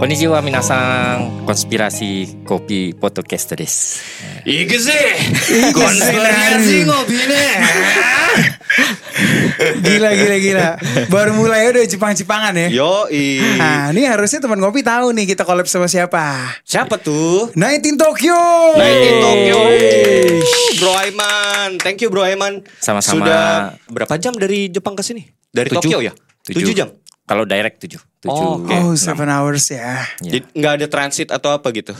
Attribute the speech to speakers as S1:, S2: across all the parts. S1: こんにちは皆さんコンスピラシーコピーポッドキャストです
S2: 行くぜこんなanjing ngopinya
S3: Gila gila gila. Baru mulai udah Jepang-Jepangan ya.
S2: Yoi
S3: Nah, ini harusnya teman ngopi tahu nih kita collab sama siapa.
S2: Siapa tuh?
S3: 19 Tokyo.
S2: Night in Tokyo Bro Aiman Thank you Bro Aiman
S1: Sama-sama.
S2: Sudah berapa jam dari Jepang ke sini? Dari
S1: Tujuh.
S2: Tokyo ya? Tujuh, jam?
S1: kalau direct tujuh tujuh Nah,
S2: Oh, oke.
S3: Oh, seven hours ya.
S1: Ya.
S2: Jadi nggak ada transit atau apa gitu?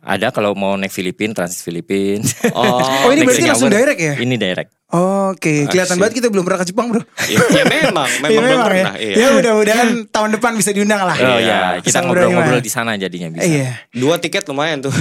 S1: ada kalau mau naik Filipin transit Filipin
S2: Oh,
S3: Oh, ini
S1: Next
S3: berarti
S1: hour.
S3: langsung direct ya?
S1: ini direct
S3: Oke, kelihatan
S2: see.
S3: banget kita belum pernah ke Jepang, Bro.
S2: ya, ya memang, memang
S3: Iya,
S2: belum pernah
S3: ya.
S2: iya.
S3: Ya, mudah-mudahan tahun depan bisa diundang lah.
S1: oh ya kita
S3: Bisa
S1: ngobrol-ngobrol
S3: ngobrol-ngobrol.
S1: di sana jadinya bisa
S2: Oh,
S3: Iya.
S2: Dua tiket lumayan tuh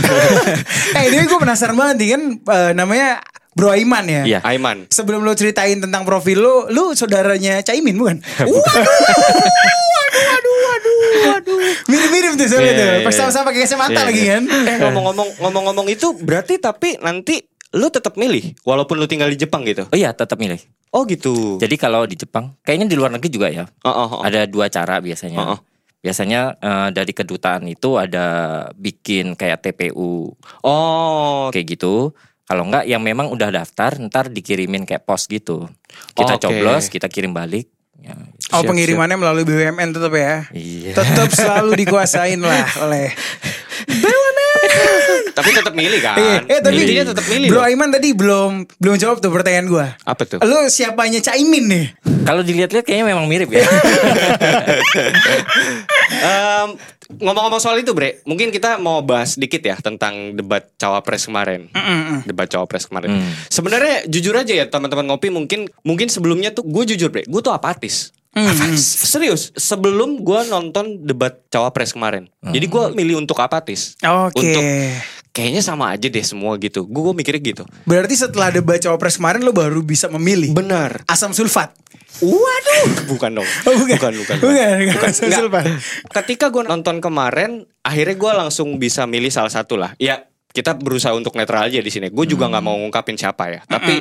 S3: Eh, ini gue penasaran banget nih kan eh, namanya Bro Aiman ya.
S1: Iya.
S2: Aiman
S3: Sebelum lu ceritain tentang profil lu, lu saudaranya Caimin bukan? Waduh, waduh, waduh, waduh, waduh. Mirip-mirip tuh soalnya
S1: Iya,
S3: tuh.
S1: iya,
S3: Pas sama-sama kayak
S1: Iya,
S3: semata lagi
S1: iya.
S3: kan.
S2: Eh ngomong-ngomong ngomong-ngomong itu berarti tapi nanti lu tetap milih walaupun lu tinggal di Jepang gitu.
S1: oh iya tetap milih
S2: Oh gitu.
S1: jadi kalau di Jepang kayaknya di luar negeri juga ya
S2: Oh, oh, oh.
S1: ada dua cara biasanya
S2: Oh, oh.
S1: biasanya eh, dari kedutaan itu ada bikin kayak TPU
S2: Oh,
S1: kayak gitu. Kalau enggak yang memang udah daftar ntar dikirimin kayak pos gitu. Kita
S2: Oke.
S1: coblos, kita kirim balik. Ya, gitu.
S3: Oh
S1: Siap,
S3: pengirimannya melalui BUMN tetap ya.
S1: siap. Iya.
S3: Tetap selalu dikuasain lah oleh.
S2: tapi tetap milih kan?
S1: Ah,
S3: Eh, eh tapi
S2: Intinya tetap milih.
S3: Bro
S2: loh.
S3: Aiman tadi belum belum jawab tuh pertanyaan gua.
S2: Apa tuh?
S3: Lu siapanya Caimin nih?
S1: Kalau dilihat-lihat kayaknya memang mirip ya.
S2: Em, ngomong-ngomong soal itu, Bre, mungkin kita mau bahas dikit ya tentang debat cawapres kemarin. Debat cawapres kemarin.
S1: Hmm.
S2: Sebenarnya jujur aja ya teman-teman ngopi mungkin mungkin sebelumnya tuh gue jujur, Bre, gue tuh apatis. Serius, sebelum gue nonton debat cawapres kemarin,
S3: Hmm.
S2: jadi gue milih untuk apatis.
S3: Oke.
S2: Untuk kayaknya sama aja deh semua gitu. Gue mikirnya gitu.
S3: Berarti setelah debat cawapres kemarin lu baru bisa memilih.
S2: Benar.
S3: Asam sulfat.
S2: Waduh. Bukan dong.
S3: Oh, bukan.
S2: Bukan, bukan.
S3: Bukan, bukan. Asam
S2: Nggak.
S3: sulfat.
S2: Ketika gue nonton kemarin, akhirnya gue langsung bisa milih salah satu lah. Ya kita berusaha untuk netral aja di sini. Gue juga nggak
S3: Hmm.
S2: mau ngungkapin siapa ya. Tapi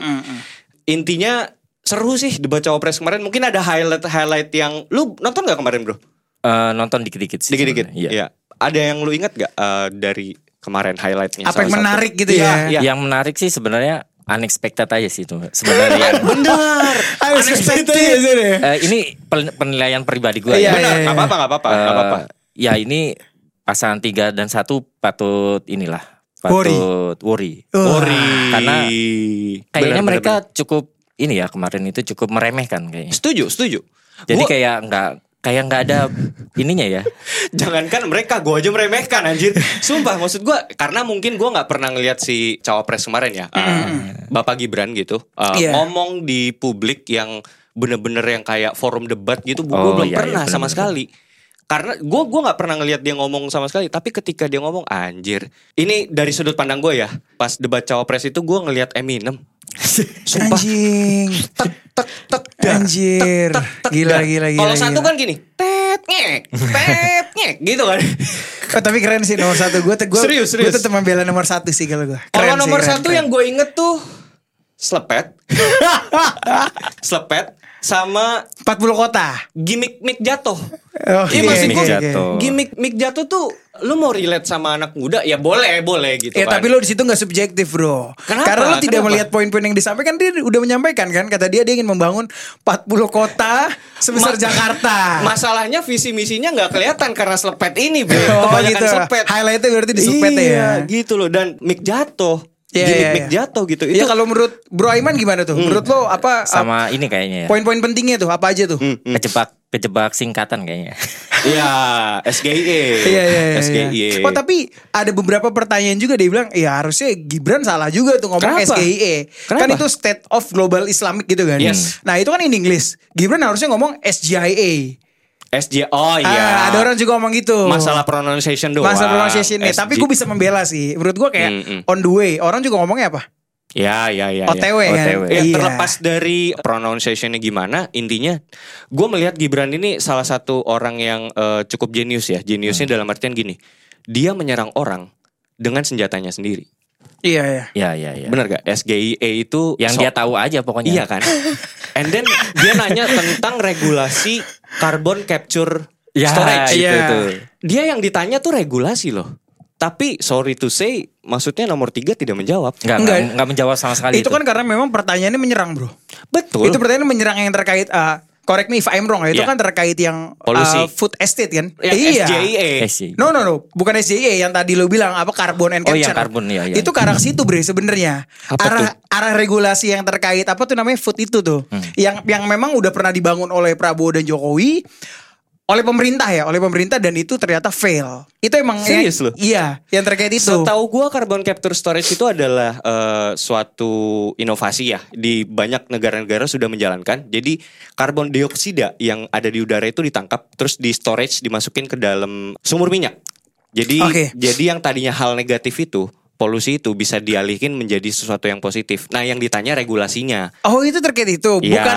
S2: intinya seru sih debat cawapres kemarin. Mungkin ada highlight highlight yang lu nonton nggak kemarin bro?
S1: Eh, nonton dikit-dikit sih.
S2: Dikit-dikit.
S1: sebenarnya. Iya.
S2: Iya. Ada yang lu ingat gak eh, dari kemarin highlightnya?
S3: Apa
S2: salah
S3: yang
S2: satu?
S3: menarik gitu
S2: Iya,
S3: ya?
S2: Iya.
S1: Yang menarik sih sebenarnya unexpected aja sih itu sebenarnya.
S2: Benar.
S3: Unexpected ya Zul, ya?
S1: Eh, ini pen- penilaian pribadi gue. ya.
S3: Iya,
S2: Benar.
S3: iya,
S2: Gak apa-apa, gak apa-apa, nggak
S1: Eh,
S2: apa-apa.
S1: Ya ini pasangan tiga dan satu patut inilah patut worry.
S3: Wah.
S2: Ori.
S1: Karena Kayaknya
S2: Benar, benar,
S1: mereka cukup ini ya kemarin itu cukup meremehkan kayaknya.
S2: Setuju, setuju.
S1: Jadi
S2: Gua-
S1: kayak nggak kayak nggak ada ininya ya.
S2: jangankan mereka, gue aja meremehkan anjir. Sumpah, maksud gue karena mungkin gue nggak pernah ngelihat si cawapres kemarin ya, eh, Bapak Gibran gitu eh,
S3: Iya.
S2: ngomong di publik yang bener-bener yang kayak forum debat gitu, gue
S1: Oh, iya,
S2: belum
S1: iya,
S2: pernah
S1: bener-bener.
S2: sama sekali. Karena gue gua nggak pernah ngelihat dia ngomong sama sekali, tapi ketika dia ngomong anjir, ini dari sudut pandang gue ya. Pas debat cawapres itu gue ngelihat Eminem. Sumpah.
S3: Anjing.
S2: Tek tek tek
S3: Anjir.
S2: tek, tek,
S3: Gila,
S2: dah.
S3: gila, gila,
S2: Kalau satu
S3: gila.
S2: kan gini, tet nyek, tet nyek gitu kan.
S3: Oh, tapi keren sih nomor satu gue. Gua,
S2: Serius, serius.
S3: Gue tetap membela nomor satu sih kalau gue.
S2: Kalau nomor satu yang gue inget tuh selepet, selepet sama
S3: 40 kota.
S2: gimmick mic jatuh.
S3: Oke,
S2: Iya maksud
S1: Gimmick
S2: gue
S1: jatuh.
S2: gimmick mic jatuh tuh lu mau relate sama anak muda ya boleh boleh gitu
S3: Ya
S2: kan.
S3: tapi lo di situ nggak subjektif bro.
S2: Kenapa?
S3: Karena lo tidak
S2: Kenapa?
S3: melihat poin-poin yang disampaikan dia udah menyampaikan kan kata dia dia ingin membangun 40 kota sebesar
S2: Ma-
S3: Jakarta.
S2: Masalahnya visi misinya nggak kelihatan karena selepet ini, bro.
S3: Oh,
S2: Kebanyakan
S3: gitu.
S2: selepet.
S3: Highlightnya berarti di selepet
S2: iya,
S3: ya.
S2: gitu loh dan mic jatuh.
S3: Iya,
S2: Gimmick
S3: iya,
S2: mic
S3: iya.
S2: jatuh gitu. Itu
S3: Ya kalau menurut Bro Aiman gimana tuh?
S2: Hmm.
S3: Menurut lo apa apa
S1: Sama ini kayaknya ya.
S3: poin-poin pentingnya tuh apa aja tuh?
S1: Kejebak kejebak singkatan kayaknya.
S2: Iya, SGIE.
S3: Iya iya iya,
S2: SGIE.
S3: iya. Oh tapi ada beberapa pertanyaan juga dia bilang, ya harusnya Gibran salah juga tuh ngomong
S2: Kenapa?
S3: SGIE. Kan
S2: Kenapa?
S3: itu State of Global Islamic gitu kan.
S2: Yes.
S3: Nah itu kan in English. Gibran harusnya ngomong SGIA.
S2: SGIE. Oh
S3: E.
S2: iya.
S3: Ah, ada orang juga ngomong gitu.
S2: masalah pronunciation doang.
S3: Masalah pronunciation nih.
S2: SG.
S3: Tapi gue bisa membela sih. Menurut gue kayak
S2: Mm-mm.
S3: on the way. Orang juga ngomongnya apa?
S2: Ya, ya, ya. ya.
S3: OTW, kan.
S1: OTW.
S2: Ya,
S3: Iya.
S2: terlepas dari pronunciationnya gimana, intinya gue melihat Gibran ini salah satu orang yang eh,
S3: Hmm.
S2: cukup jenius ya. Jeniusnya dalam artian gini, dia menyerang orang dengan senjatanya sendiri.
S3: Iya ya.
S1: Ya ya ya.
S2: Bener gak? SGIE E itu
S1: Yang
S2: so-
S1: dia tahu aja pokoknya.
S2: Iya kan? And then dia nanya tentang regulasi carbon capture
S1: Ya, itu,
S2: storage Gitu,
S3: iya.
S1: itu.
S2: Dia yang ditanya tuh regulasi loh. Tapi sorry to say, maksudnya nomor tiga tidak menjawab.
S1: Enggak,
S3: Enggak.
S1: enggak, enggak menjawab sama sekali
S3: Itu kan karena memang pertanyaannya menyerang bro.
S2: Betul.
S3: Itu pertanyaannya menyerang yang terkait. ah, correct me if I'm wrong. ya,
S2: Iya.
S3: Itu kan terkait yang ah,
S2: Polusi.
S3: food estate kan.
S2: Yang SGIE.
S1: Eh, sih.
S3: No no no, bukan SJE yang tadi lu bilang apa carbon and
S1: Oh, iya,
S3: capture.
S1: carbon, iya, iya.
S3: Itu ke arah situ Bre sebenarnya.
S2: Apa
S3: Arah arah regulasi yang terkait apa tuh namanya food itu tuh.
S1: Hmm.
S3: Yang yang memang udah pernah dibangun oleh Prabowo dan Jokowi oleh pemerintah ya, oleh pemerintah dan itu ternyata fail. Itu emang
S2: Serius lu?
S3: Iya, yang terkait itu.
S2: Setahu gua carbon capture storage itu adalah eh, suatu inovasi ya di banyak negara-negara sudah menjalankan. Jadi karbon dioksida yang ada di udara itu ditangkap terus di storage dimasukin ke dalam sumur minyak. Jadi
S3: Oke.
S2: jadi yang tadinya hal negatif itu polusi itu bisa dialihkan menjadi sesuatu yang positif. Nah, yang ditanya regulasinya.
S3: Oh, itu terkait itu.
S2: Iya.
S3: Bukan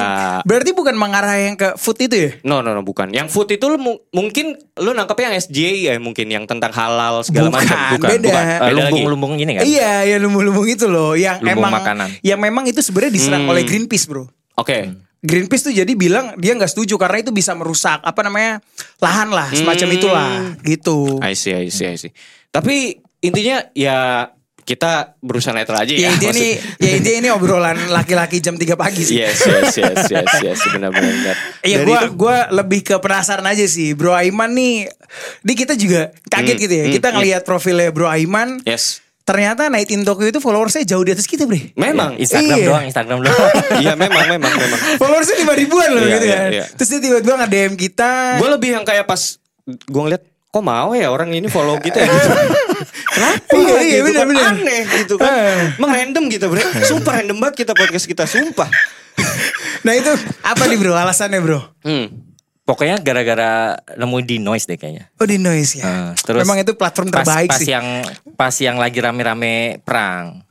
S3: berarti bukan mengarah yang ke food itu ya?
S2: No, no, no, bukan. Yang food itu lu mu- mungkin lu nangkapnya yang SJ ya mungkin yang tentang halal segala
S3: Bukan,
S2: macam.
S3: beda.
S1: Eh,
S2: Beda lagi.
S1: lumbung-lumbung ini kan.
S3: Iya, ya lumbung-lumbung itu loh yang
S1: Lumbung
S3: emang
S1: makanan. Hmm.
S3: yang memang itu sebenarnya diserang oleh Greenpeace, Bro.
S2: Oke.
S3: Greenpeace tuh jadi bilang dia nggak setuju karena itu bisa merusak apa namanya lahan lah semacam
S2: Hmm.
S3: itulah gitu.
S2: I see, I see, I see. Hmm. Tapi intinya ya kita berusaha netral aja ya.
S3: Ya intinya ini
S2: maksud-
S3: ya intinya ini obrolan laki-laki jam 3 pagi sih.
S2: Yes, yes, yes, yes, yes, benar-benar. benar. Iya. Dari
S3: Iya gua
S2: itu-
S3: gua lebih ke penasaran aja sih Bro Aiman nih di kita juga kaget
S2: Hmm,
S3: gitu ya. Kita ngelihat profilnya Bro Aiman
S2: yes.
S3: ternyata Night in Tokyo itu followersnya jauh di atas kita, Bre.
S2: Memang. Iya,
S1: Instagram
S3: Iya.
S1: doang, Instagram doang.
S2: memang, memang, memang.
S3: Followersnya lima ribuan loh
S2: Iya,
S3: gitu
S2: iya,
S3: kan.
S2: iya.
S3: Terus dia tiba-tiba nge-DM kita.
S2: Gue lebih yang kayak pas gue ngeliat kok mau ya orang ini follow kita ya gitu. Kenapa?
S3: Iya, iya,
S2: gitu kan?
S3: benar-benar.
S2: Aneh gitu kan.
S3: Eh.
S2: Emang random gitu bre. Sumpah random banget kita podcast kita. Sumpah.
S3: Nah itu apa nih Bro alasannya Bro?
S2: Hmm.
S1: Pokoknya gara-gara nemu di noise deh kayaknya.
S3: Oh di noise ya.
S1: Eh, terus
S3: Memang itu platform
S1: pas-
S3: terbaik
S1: pas,
S3: sih.
S2: ya,
S1: yang pas yang lagi rame-rame perang.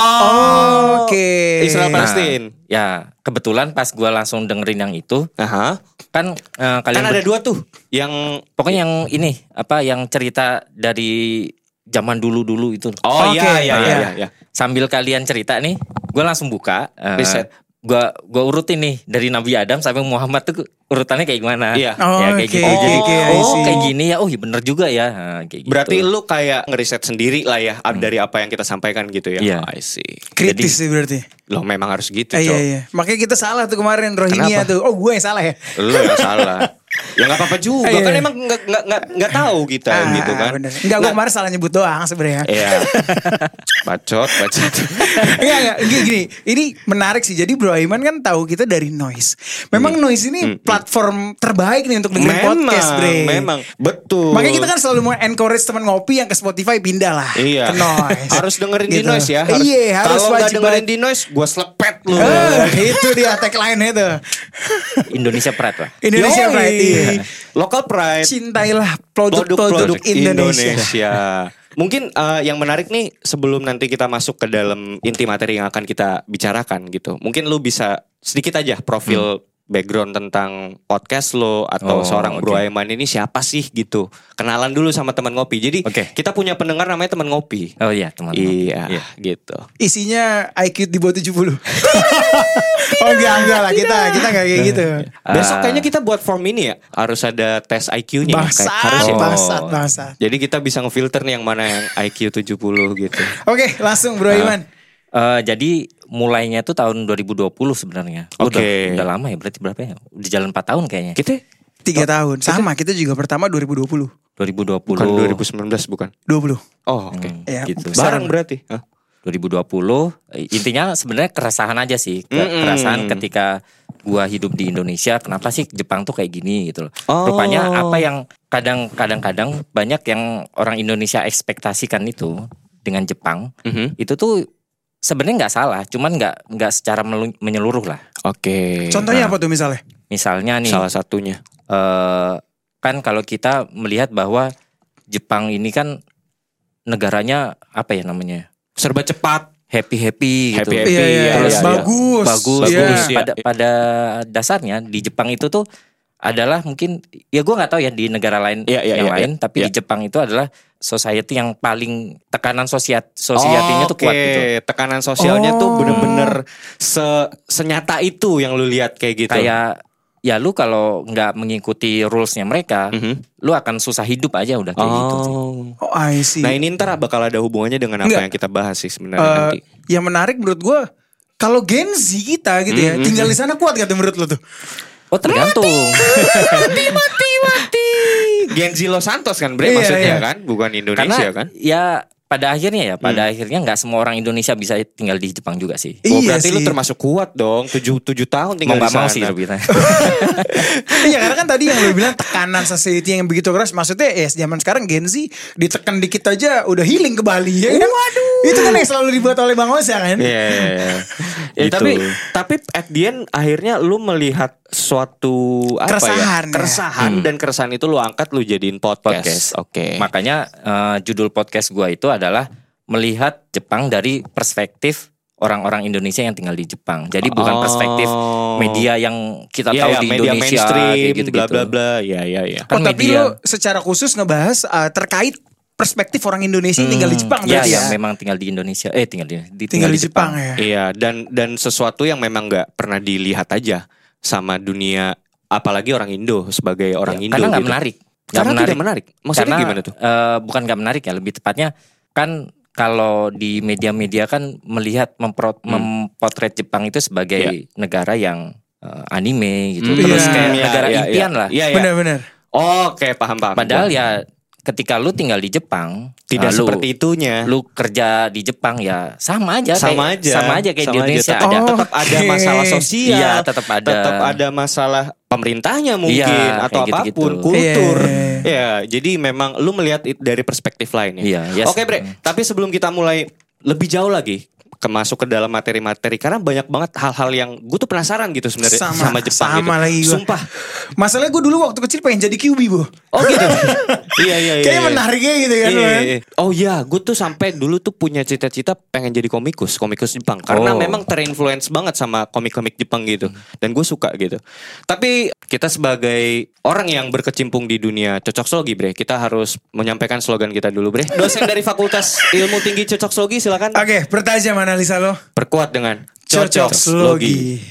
S2: Oh.
S3: Oke.
S2: Israel
S1: Nah,
S2: Palestine.
S1: ya kebetulan pas gua langsung dengerin yang itu
S2: Nah. Aha.
S1: kan eh, kalian
S2: Kan ada
S1: ber-
S2: dua tuh yang
S1: pokoknya yang ini apa yang cerita dari zaman dulu-dulu itu.
S2: Oh
S3: Oke,
S2: iya, iya, iya,
S1: iya.
S2: iya, iya.
S1: Sambil kalian cerita nih, gua langsung buka. eh,
S2: Riset.
S1: Gua gua urutin nih dari Nabi Adam sampai Muhammad tuh urutannya kayak gimana?
S2: Iya.
S3: Oh,
S1: ya kayak
S3: oke,
S1: gitu. Jadi,
S2: oke, I
S1: oh
S2: see.
S1: kayak gini ya. Oh iya bener juga ya. Nah, kayak gitu.
S2: Berarti lu kayak ngeriset sendiri lah ya
S3: Hmm.
S2: ab- dari apa yang kita sampaikan gitu ya.
S1: Iya.
S2: I see.
S3: Kritis sih berarti.
S2: Loh memang harus gitu, Cok.
S3: Eh, iya iya. Makanya kita salah tuh kemarin
S2: Kenapa?
S3: Rohingya tuh. Oh gue yang salah ya.
S2: Lu yang salah. ya nggak apa-apa juga
S3: Iya.
S2: kan emang nggak nggak nggak nggak tahu kita
S3: Ah,
S2: gitu kan.
S3: bener. Enggak gue
S2: Nah,
S3: kemarin salah nyebut doang sebenarnya.
S2: Iya. bacot, bacot.
S3: Enggak enggak gini, gini. Iya, Ini menarik sih. Jadi Bro Aiman kan tahu kita dari Noise.
S2: Hmm.
S3: Memang Noise ini platform terbaik nih untuk dengerin podcast, Bre.
S2: memang betul.
S3: Makanya kita kan selalu mau encourage teman ngopi yang ke Spotify pindah lah
S2: Iya.
S3: ke Noise.
S2: harus dengerin di
S3: Gitu.
S2: noise ya. Harus,
S3: Iya, harus
S2: Kalau nggak
S3: wajib
S2: dengerin
S3: banget.
S2: di noise, gua selepet lu.
S3: Eh, itu dia tagline itu.
S1: Indonesia Pride lah.
S3: Indonesia
S2: Yoi.
S3: Pride. iya.
S2: Local pride.
S3: Cintailah
S2: produk-produk
S3: produk-produk
S2: Indonesia.
S3: Indonesia.
S2: Mungkin eh, yang menarik nih sebelum nanti kita masuk ke dalam inti materi yang akan kita bicarakan gitu. Mungkin lu bisa sedikit aja profil background tentang podcast lo atau
S1: Oh,
S2: seorang
S1: oke.
S2: Bro Aiman ini siapa sih gitu. Kenalan dulu sama teman ngopi. Jadi
S1: Oke.
S2: kita punya pendengar namanya teman ngopi.
S1: Oh iya teman-teman.
S2: Iya, gitu.
S3: Isinya IQ di bawah 70. oh enggak enggak lah kita kita enggak kayak gitu.
S2: Besok
S1: Ah.
S2: kayaknya kita buat form ini ya. Harus ada tes IQ-nya. ya, kayak harus
S3: Bangsat,
S2: ya.
S1: Oh.
S3: bangsat, bangsat.
S2: Jadi kita bisa ngefilter nih yang mana yang IQ 70 gitu.
S3: Oke, langsung
S2: Nah.
S3: Bro Iman.
S1: Eh, jadi mulainya tuh tahun 2020 sebenarnya. Udah-
S2: Oke.
S1: Udah, lama ya berarti berapa ya? Di jalan 4 tahun kayaknya.
S2: Kita
S3: Tiga
S2: Oh,
S3: tahun. Sama, kita juga pertama 2020.
S1: 2020.
S2: bukan 2019 bukan.
S3: 20.
S2: Oh, oke.
S1: Hmm,
S3: Ya,
S1: gitu.
S3: besar.
S2: Barang berarti.
S1: 2020 eh, intinya sebenarnya keresahan aja sih. Ke-
S2: Mm-mm.
S1: Keresahan ketika gua hidup di Indonesia, kenapa sih Jepang tuh kayak gini gitu loh.
S2: Oh.
S1: Rupanya apa yang kadang kadang-kadang banyak yang orang Indonesia ekspektasikan itu dengan Jepang,
S2: Mm-hmm.
S1: itu tuh sebenarnya nggak salah, cuman nggak nggak secara melu- menyeluruh lah.
S2: Oke. nah,
S3: Contohnya apa tuh misalnya?
S1: Misalnya nih
S2: salah satunya.
S1: eh, kan kalau kita melihat bahwa Jepang ini kan negaranya apa ya namanya
S2: Serba cepat.
S1: happy happy gitu
S2: Happy-happy, Iya, iya,
S1: terus
S2: iya, iya.
S3: bagus.
S1: bagus
S3: Iya.
S1: bagus
S2: Iya.
S1: pada pada dasarnya di Jepang itu tuh adalah mungkin ya gue nggak tahu ya di negara lain
S2: Iya, iya,
S1: yang
S2: iya,
S1: lain tapi
S2: iya.
S1: di Jepang itu adalah society yang paling tekanan sosiat society-nya tuh kuat
S2: Oke,
S1: gitu.
S2: Tekanan sosialnya tuh
S3: Oh.
S2: bener-bener se- senyata itu yang lu lihat kayak gitu.
S1: Kayak ya lu kalau nggak mengikuti rulesnya mereka,
S2: Mhm.
S1: lu akan susah hidup aja udah kayak gitu. sih.
S2: Oh.
S3: Oh, I see.
S2: Nah ini ntar bakal ada hubungannya dengan apa
S3: Nggak.
S2: yang kita bahas sih sebenarnya
S3: Eh,
S2: nanti.
S3: yang menarik menurut gue kalau Gen Z kita gitu ya,
S2: Mm-hmm.
S3: tinggal di sana kuat gak tuh menurut lo tuh?
S1: Oh tergantung.
S2: Gen Z Los Santos kan Bre
S3: Iya,
S2: maksudnya
S3: iya.
S2: kan bukan
S1: Karena
S2: Indonesia kan. Hmm.
S1: ya pada akhirnya ya pada akhirnya nggak semua orang Indonesia bisa tinggal di Jepang juga sih.
S2: Oh,
S3: Iya
S2: berarti
S3: sih.
S2: lu termasuk kuat dong 7 tujuh
S1: Mau
S2: tahun tinggal di
S1: nggak
S2: sana.
S1: mau sih lebih.
S3: Iya karena kan tadi yang lo bilang tekanan society yang begitu keras maksudnya ya zaman sekarang Gen Z ditekan dikit aja udah healing ke Bali ya kan? Waduh. Itu kan yang selalu dibuat oleh Bang Oza kan?
S2: Iya, iya, iya. Ya,
S3: Gitu.
S2: tapi tapi at the end akhirnya lu melihat suatu apa
S3: Keresahan
S2: ya?
S3: ya.
S2: Keresahan dan keresahan itu lu angkat lu jadiin podcast.
S1: Podcast. Oh.
S2: Oke.
S1: Makanya eh, judul podcast gua itu adalah melihat Jepang dari perspektif orang-orang Indonesia yang tinggal di Jepang. Jadi bukan
S2: Oh.
S1: perspektif media yang kita
S2: Iya,
S1: tahu
S2: iya,
S1: di
S2: media
S1: Indonesia
S2: mainstream,
S1: kayak gitu-gitu.
S2: bla bla bla. Ya ya ya.
S1: Kan
S3: oh tapi
S1: media.
S3: lo secara khusus ngebahas eh, terkait perspektif orang Indonesia yang tinggal di Jepang
S1: ya,
S3: berarti
S1: ya,
S3: ya?
S1: memang tinggal di Indonesia. Eh, tinggal di, di-
S3: Tinggal di Jepang, ya.
S2: Iya dan dan sesuatu yang memang nggak pernah dilihat aja sama dunia apalagi orang Indo sebagai orang
S1: Ya,
S2: Indo
S1: karena nggak
S2: gitu.
S1: menarik. Nggak
S2: Karena
S1: menarik.
S2: tidak menarik. Maksudnya
S1: Karena,
S2: gimana tuh?
S1: eh, bukan nggak menarik ya, lebih tepatnya kan kalau di media-media kan melihat mempro-
S2: Hmm.
S1: mempotret Jepang itu sebagai negara yang eh, anime gitu,
S2: Hmm,
S1: terus
S3: iya.
S1: kayak
S2: Iya,
S1: negara
S2: iya,
S1: impian
S2: iya.
S1: lah.
S2: Iya, iya.
S3: Benar-benar.
S2: Oke, paham paham.
S1: Padahal
S2: Gua-
S1: ya ketika lu tinggal di Jepang,
S2: tidak
S1: eh, lu,
S2: seperti itunya.
S1: lu kerja di Jepang ya sama aja,
S2: sama
S1: kayak,
S2: aja
S1: sama aja kayak di
S2: sama aja.
S1: Indonesia
S2: tetap
S1: ada.
S3: Oh,
S2: tetap ada
S3: Oke.
S2: masalah sosial
S1: Iya, tetap ada.
S2: tetap ada masalah pemerintahnya mungkin
S1: Iya, kayak
S2: atau
S1: gitu-gitu.
S2: apapun kultur
S3: Iya, iya,
S2: ya jadi memang lu melihat it dari perspektif lain ya
S1: Iya, iya.
S2: oke bre tapi sebelum kita mulai lebih jauh lagi ke masuk ke dalam materi-materi karena banyak banget hal-hal yang gue tuh penasaran gitu sebenarnya sama,
S3: Sama,
S2: Jepang
S3: sama
S2: gitu.
S3: lagi gua.
S2: sumpah
S3: Masalahnya gue dulu waktu kecil pengen jadi QB bu.
S2: oh gitu iya iya iya
S3: Kayaknya
S2: iya.
S3: menariknya gitu kan.
S2: Iya,
S3: lo
S2: iya,
S3: kan?
S2: iya. Oh iya, gue tuh sampai dulu tuh punya cita-cita pengen jadi komikus, komikus Jepang. Karena
S1: Oh.
S2: memang terinfluence banget sama komik-komik Jepang gitu.
S3: Hmm.
S2: Dan gue suka gitu. Tapi kita sebagai orang yang berkecimpung di dunia cocok bre, kita harus menyampaikan slogan kita dulu, bre. Dosen dari Fakultas Ilmu Tinggi Cocok silakan
S3: Oke, pertajam analisa lo.
S2: perkuat dengan
S3: Cocok slogi.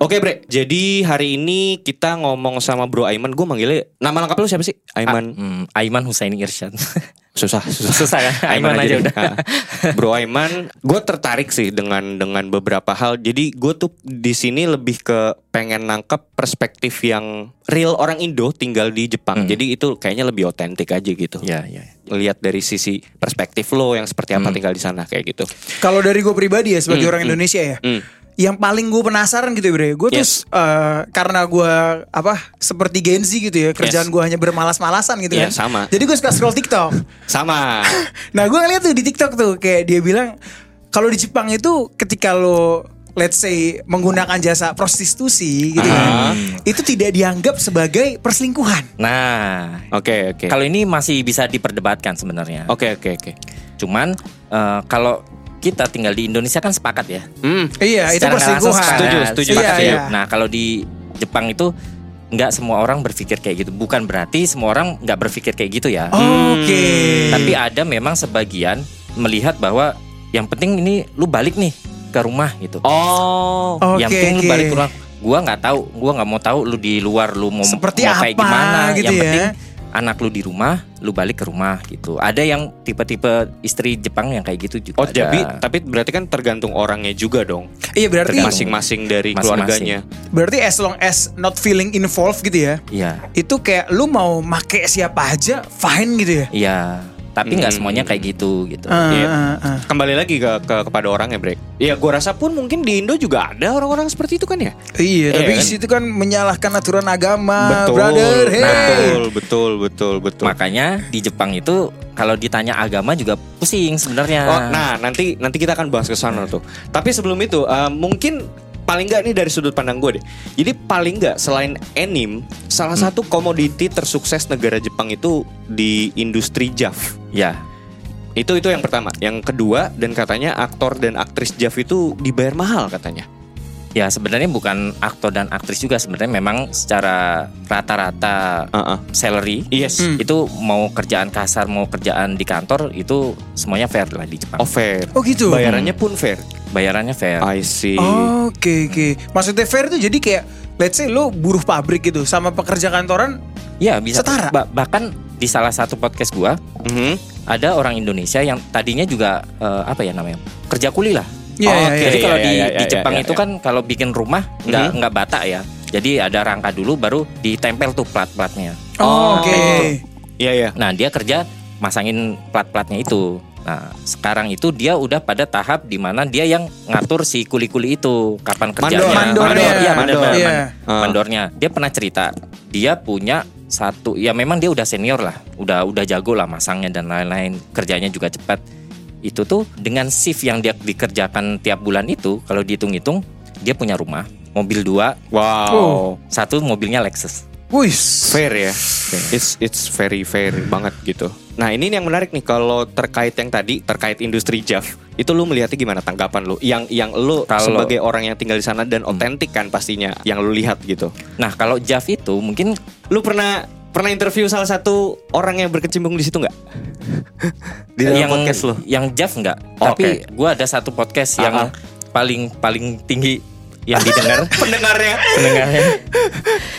S2: Oke bre, jadi hari ini kita ngomong sama Bro Aiman. Gue manggilnya nama lengkap lu siapa sih? Aiman.
S1: Hmm, Aiman Husaini Irsyad.
S2: susah susah
S1: Susah kan? Aiman aja
S2: deh.
S1: udah.
S2: Ah. bro Aiman gue tertarik sih dengan dengan beberapa hal jadi gue tuh di sini lebih ke pengen nangkep perspektif yang real orang Indo tinggal di Jepang jadi itu kayaknya lebih otentik aja gitu
S1: Hmm. ya, ya.
S2: lihat dari sisi perspektif lo yang seperti
S1: Hmm.
S2: apa tinggal di sana kayak gitu
S3: Kalau dari gue pribadi ya sebagai orang Indonesia ya,
S2: Hmm.
S3: yang paling gue penasaran gitu ya, Bre. Gue tuh
S2: Yes.
S3: eh, karena gue apa seperti Gen Z gitu ya, kerjaan
S2: Yes.
S3: gue hanya bermalas-malasan gitu
S2: Iya,
S3: kan.
S2: sama.
S3: Jadi gue suka scroll TikTok.
S2: sama
S3: nah gue ngeliat tuh di TikTok tuh kayak dia bilang kalau di Jepang itu ketika lo let's say menggunakan jasa prostitusi gitu
S2: Ah.
S3: kan, itu tidak dianggap sebagai perselingkuhan.
S1: Nah,
S2: oke oke
S1: kalau ini masih bisa diperdebatkan sebenarnya.
S2: oke oke oke
S1: Cuman eh, kalau kita tinggal di Indonesia kan sepakat ya.
S2: Hmm.
S3: Iya, itu
S1: Secara nggak langsung
S3: perselingkuhan.
S1: sepakat.
S2: Setuju, setuju,
S1: Sepakat,
S3: Iya,
S1: setuju.
S3: iya.
S1: Nah kalau di Jepang itu nggak semua orang berpikir kayak gitu. Bukan berarti semua orang nggak berpikir kayak gitu ya.
S3: Oke.
S2: Hmm.
S1: Tapi ada memang sebagian melihat bahwa yang penting ini lu balik nih ke rumah gitu.
S2: oh
S3: Oh,
S1: yang
S3: oke,
S1: penting lu
S3: oke.
S1: balik ke rumah. Gua nggak tahu, gua nggak mau tahu lu di luar lu mau
S3: Seperti
S1: mau kayak
S3: apa
S1: gimana.
S3: gitu
S1: yang
S3: ya.
S1: penting anak lu di rumah, lu balik ke rumah gitu. Ada yang tipe-tipe istri Jepang yang kayak gitu juga.
S2: Oh
S1: ada.
S2: jadi tapi berarti kan tergantung orangnya juga dong
S3: Iya berarti
S2: masing-masing dari
S1: Masing-masing.
S2: keluarganya.
S3: berarti as long as not feeling involved gitu ya.
S1: Iya,
S3: Itu kayak lu mau make siapa aja fine gitu ya.
S1: iya. tapi nggak
S2: Hmm.
S1: semuanya kayak gitu gitu
S3: Ah,
S2: Iya.
S3: ah, ah.
S2: Kembali lagi ke, ke- kepada orang ya, Brek. Ya, gua rasa pun mungkin di Indo juga ada orang-orang seperti itu kan ya. Iya
S3: Iya, tapi
S2: kan?
S3: isi itu kan menyalahkan aturan agama, Ah, brother. Hey.
S2: betul, betul, betul, betul.
S1: makanya di Jepang itu kalau ditanya agama juga pusing sebenarnya
S3: Ah.
S2: Oh, nah nanti nanti kita akan bahas ke sana tuh. Tapi sebelum itu eh, mungkin paling nggak nih dari sudut pandang gue deh. Jadi paling nggak selain anime, salah satu komoditi tersukses negara Jepang itu di industri JAV.
S1: ya
S2: Itu itu yang pertama. Yang kedua dan katanya aktor dan aktris JAV itu dibayar mahal katanya.
S1: ya sebenarnya bukan aktor dan aktris juga sebenarnya memang secara rata-rata
S2: Heeh.
S1: salary
S2: Yes.
S3: Hmm.
S1: itu mau kerjaan kasar mau kerjaan di kantor itu semuanya fair lah di Jepang
S2: Oh Ah. fair.
S3: Oh gitu.
S2: Bayarannya pun fair.
S1: bayarannya fair
S2: I see.
S3: Oh, Oke oke. Maksudnya fair itu jadi kayak let's say lu buruh pabrik gitu sama pekerja kantoran.
S1: ya bisa
S3: Setara.
S1: Ba- bahkan di salah satu podcast gua
S2: Mhm.
S1: ada orang Indonesia yang tadinya juga eh, apa ya namanya kerja kuli lah
S3: Iya iya
S2: Oke.
S3: iya.
S1: Jadi
S2: iya,
S1: kalau
S2: iya,
S1: di,
S2: iya,
S1: di
S2: iya,
S1: Jepang
S2: iya,
S1: itu
S2: iya.
S1: kan kalau bikin rumah nggak
S2: Mhm.
S1: nggak bata ya. Jadi ada rangka dulu baru ditempel tuh plat-platnya.
S3: Oh, Oke.
S2: Iya ya.
S1: Nah dia kerja masangin plat-platnya itu. Nah sekarang itu dia udah pada tahap di mana dia yang ngatur si kuli-kuli itu kapan kerjanya.
S3: Mandor,
S1: mandor,
S3: ya.
S1: iya, mandor,
S2: Mandor.
S1: mandor.
S3: Iya.
S2: Ah.
S1: mandornya. Dia pernah cerita dia punya satu ya memang dia udah senior lah, udah udah jago lah masangnya dan lain-lain, kerjanya juga cepat. Itu tuh dengan shift yang dia dikerjakan tiap bulan itu kalau dihitung-hitung dia punya rumah, mobil dua,
S2: Wow.
S3: Oh.
S1: satu mobilnya Lexus.
S3: Wih.
S2: fair ya. It's it's very fair banget gitu. Nah, ini yang menarik nih kalau terkait yang tadi terkait industri Jav, itu lu melihatnya gimana tanggapan lu? Yang yang lu
S1: Kalau-
S2: sebagai orang yang tinggal di sana dan otentik kan pastinya yang lu lihat gitu.
S1: Nah, kalau Jav itu mungkin
S2: Lu pernah pernah interview salah satu orang yang berkecimpung di situ nggak? di dalam
S1: yang
S2: podcast lu.
S1: yang Jav enggak,
S2: Oh,
S1: tapi gua ada satu podcast yang
S2: Ah, ah.
S1: paling paling tinggi yang didengar
S2: Pendengarnya.
S1: pendengarnya.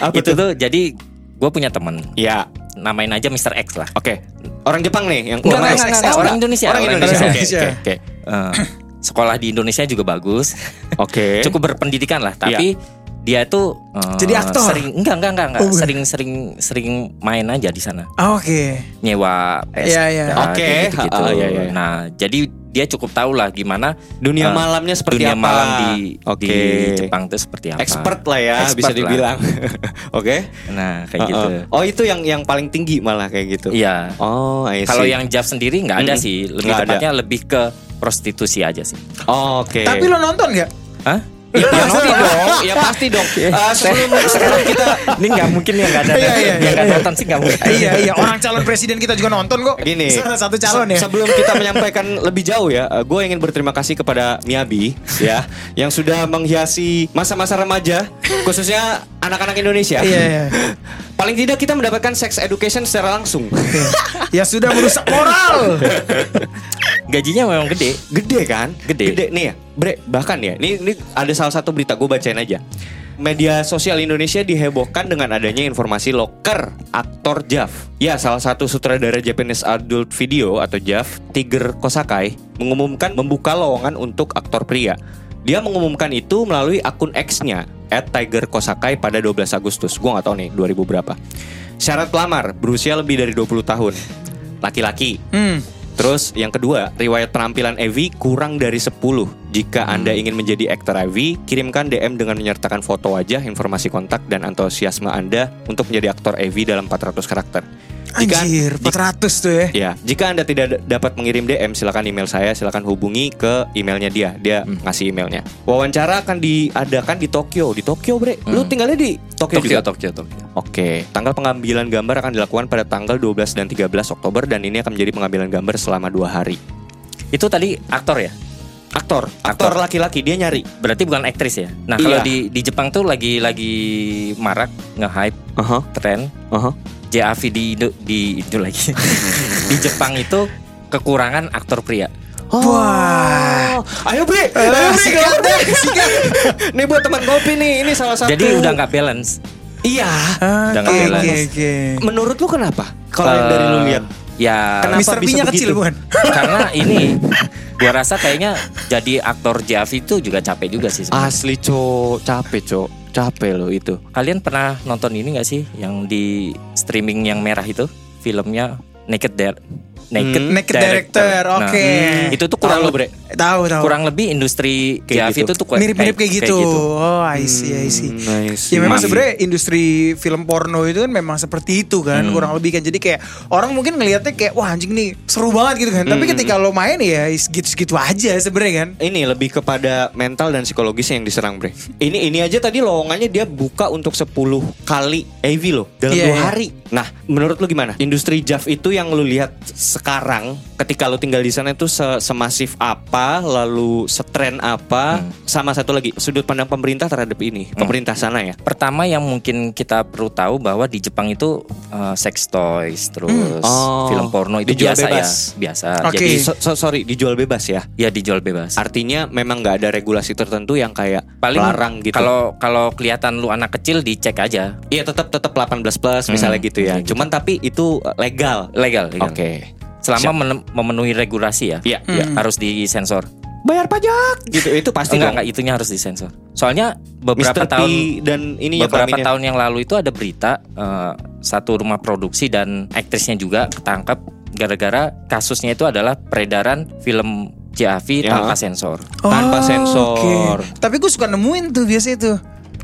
S2: Apa
S1: itu tuh jadi gue punya temen
S2: Ya,
S1: namain aja Mr X lah.
S2: oke. Orang Jepang nih yang
S1: Enggak,
S2: Orang-
S1: enggak, enggak,
S2: eh,
S1: orang Indonesia,
S2: Orang
S1: orang
S2: Indonesia. Oke,
S3: Indonesia.
S2: oke, oke.
S1: Eh, sekolah di Indonesia juga bagus,
S2: Oke. Iya.
S1: cukup berpendidikan lah. Tapi dia tuh eh,
S3: Jadi aktor?
S1: Sering enggak enggak enggak, enggak.
S3: Oh, bukan.
S1: sering sering sering main aja di sana.
S3: Ah, Oke.
S1: Nyewa PS.
S3: Iya, iya.
S1: kayak
S2: Oke,
S1: gitu-gitu.
S2: ah, iya, iya.
S1: Nah, jadi dia cukup tahu lah gimana
S2: Dunia
S1: eh,
S2: malamnya seperti
S1: dunia
S2: apa?
S1: malam di
S2: Oke.
S1: di Jepang itu seperti apa.
S2: expert lah ya
S1: Expert
S2: bisa
S1: lah.
S2: dibilang. Oke.
S1: Nah, kayak
S2: Uh-uh.
S1: gitu.
S2: Oh, itu yang yang paling tinggi malah kayak gitu.
S1: Iya.
S2: Oh, I see.
S1: Kalau yang Jav sendiri nggak ada
S2: Mm-mm.
S1: sih, lebih
S2: Nggak ada.
S1: tepatnya lebih ke prostitusi aja sih.
S2: Oh, oke.
S3: Tapi lo nonton nggak?
S1: Hah?
S2: ya, pasti
S1: iya.
S2: dong, ya pasti dong. Eh, sebelum sebelum kita
S1: Ini nggak mungkin yang nggak ada
S3: Iya, iya,
S1: yang nggak
S3: iya.
S1: nonton sih nggak mungkin.
S3: iya iya orang calon presiden kita juga nonton kok.
S2: gini.
S3: Salah satu calon
S2: se-
S3: ya.
S2: Sebelum kita menyampaikan lebih jauh ya, eh, gue ingin berterima kasih kepada Miabi ya yang sudah menghiasi masa-masa remaja khususnya anak-anak Indonesia.
S3: Iya, iya.
S2: Paling tidak kita mendapatkan sex education secara langsung.
S3: ya sudah merusak moral.
S1: Gajinya memang gede.
S2: Gede kan?
S1: Gede.
S2: nih ya. Bre, bahkan ya. Ini ini ada salah satu berita gue bacain aja. Media sosial Indonesia dihebohkan dengan adanya informasi loker aktor Jav. Ya, salah satu sutradara Japanese Adult Video atau Jav, Tiger Kosakai, mengumumkan membuka lowongan untuk aktor pria. Dia mengumumkan itu melalui akun X-nya, Tiger Kosakai pada 12 Agustus. Gue gak tahu nih, 2000 berapa. Syarat pelamar, berusia lebih dari 20 tahun. Laki-laki,
S3: Hmm.
S2: Terus yang kedua, riwayat penampilan Evi kurang dari 10. Jika Anda ingin menjadi aktor Evi, kirimkan DM dengan menyertakan foto wajah, informasi kontak, dan antusiasme Anda untuk menjadi aktor Evi dalam 400 karakter. Jika,
S3: Anjir, 400 tuh ya.
S2: ya, jika Anda tidak d- dapat mengirim DM, silakan email saya, silakan hubungi ke emailnya dia. Dia ngasih emailnya. Wawancara akan diadakan di Tokyo. Di Tokyo, Bre. Lu tinggalnya di
S1: Tokyo,
S2: Tokyo, juga?
S1: Tokyo, Tokyo.
S2: Oke, tanggal pengambilan gambar akan dilakukan pada tanggal 12 dan 13 Oktober dan ini akan menjadi pengambilan gambar selama dua hari.
S1: Itu tadi aktor ya.
S2: aktor
S1: Aktor.
S2: aktor laki-laki dia nyari
S1: Berarti bukan aktris ya. Nah kalau
S2: Iya.
S1: di di Jepang tuh lagi lagi marak nge-hype
S2: aha
S1: tren
S2: aha
S1: JAV di Indo- di itu lagi di Jepang itu kekurangan aktor pria.
S2: Wah, Oh. ayo Bre, ayo Bre, sikat, Bre, sikat. Nih buat teman kopi nih, ini salah satu.
S1: Jadi udah nggak balance.
S2: Iya.
S1: Jangan
S3: Oke
S1: balance.
S3: oke oke.
S2: Menurut lu kenapa? Kalau yang dari lu
S1: Eh,
S2: lihat,
S1: Ya
S2: Hmm. Kenapa
S3: Mr.
S2: bisa
S3: B-nya
S2: begitu?
S3: kecil bukan?
S1: karena ini gua rasa kayaknya jadi aktor JAV itu juga capek juga sih. sebenarnya.
S2: asli co, capek co, capek lo itu.
S1: Kalian pernah nonton ini gak sih yang di streaming yang merah itu filmnya Naked Dead? naked,
S3: Hmm, Naked director,
S1: Hmm, Nah,
S3: oke.
S1: itu tuh kurang
S2: Tahu,
S1: lebih
S3: Tahu tahu.
S1: kurang lebih industri JAV
S2: Kayak gitu.
S1: itu tuh kayak-
S3: mirip-mirip kayak, gitu. Oh, I see, I see. Ya memang sebenarnya industri film porno itu kan memang seperti itu kan kurang lebih kan jadi kayak orang mungkin ngelihatnya kayak wah anjing nih seru banget gitu kan tapi ketika lo main ya gitu-gitu aja sebenarnya kan
S2: Ini lebih kepada mental dan psikologis yang diserang, Bre. Ini ini aja tadi lowongannya dia buka untuk 10 kali AV loh dalam
S3: Iya,
S2: dua
S3: iya.
S2: hari. Nah, menurut lu gimana? Industri JAV itu yang lu lihat sekarang ketika lu tinggal di sana itu se- semasif apa, lalu setren apa,
S1: Hmm.
S2: sama satu lagi sudut pandang pemerintah terhadap ini, pemerintah sana ya.
S1: Pertama yang mungkin kita perlu tahu bahwa di Jepang itu eh, sex toys
S3: Hmm.
S1: terus
S2: Oh.
S1: film porno itu
S2: Dijual
S1: biasa
S2: bebas.
S1: ya, biasa.
S3: Oke.
S1: Jadi
S2: So- so- sorry, dijual bebas ya.
S1: ya dijual bebas.
S2: Artinya memang nggak ada regulasi tertentu yang kayak
S1: Paling
S2: larang gitu.
S1: Kalau kalau kelihatan lu anak kecil dicek aja.
S2: Iya tetap tetap 18 plus misalnya
S1: Hmm,
S2: gitu ya.
S1: kayak gitu.
S2: Cuman tapi itu uh, legal.
S1: Legal,
S2: Oke.
S1: legal. Selama menem- memenuhi regulasi ya.
S2: Iya,
S1: ya, harus disensor.
S2: Bayar pajak gitu itu
S1: enggak,
S2: pasti dong.
S1: enggak itunya harus disensor. Soalnya beberapa
S2: Mr. P
S1: tahun
S2: dan ini ya
S1: beberapa
S2: kelaminnya.
S1: tahun yang lalu itu ada berita eh, satu rumah produksi dan aktrisnya juga ketangkap gara-gara kasusnya itu adalah peredaran film JAV
S2: Ya.
S1: tanpa sensor.
S2: Tanpa
S3: Oh,
S2: sensor.
S3: oke. tapi gue suka nemuin tuh biasa itu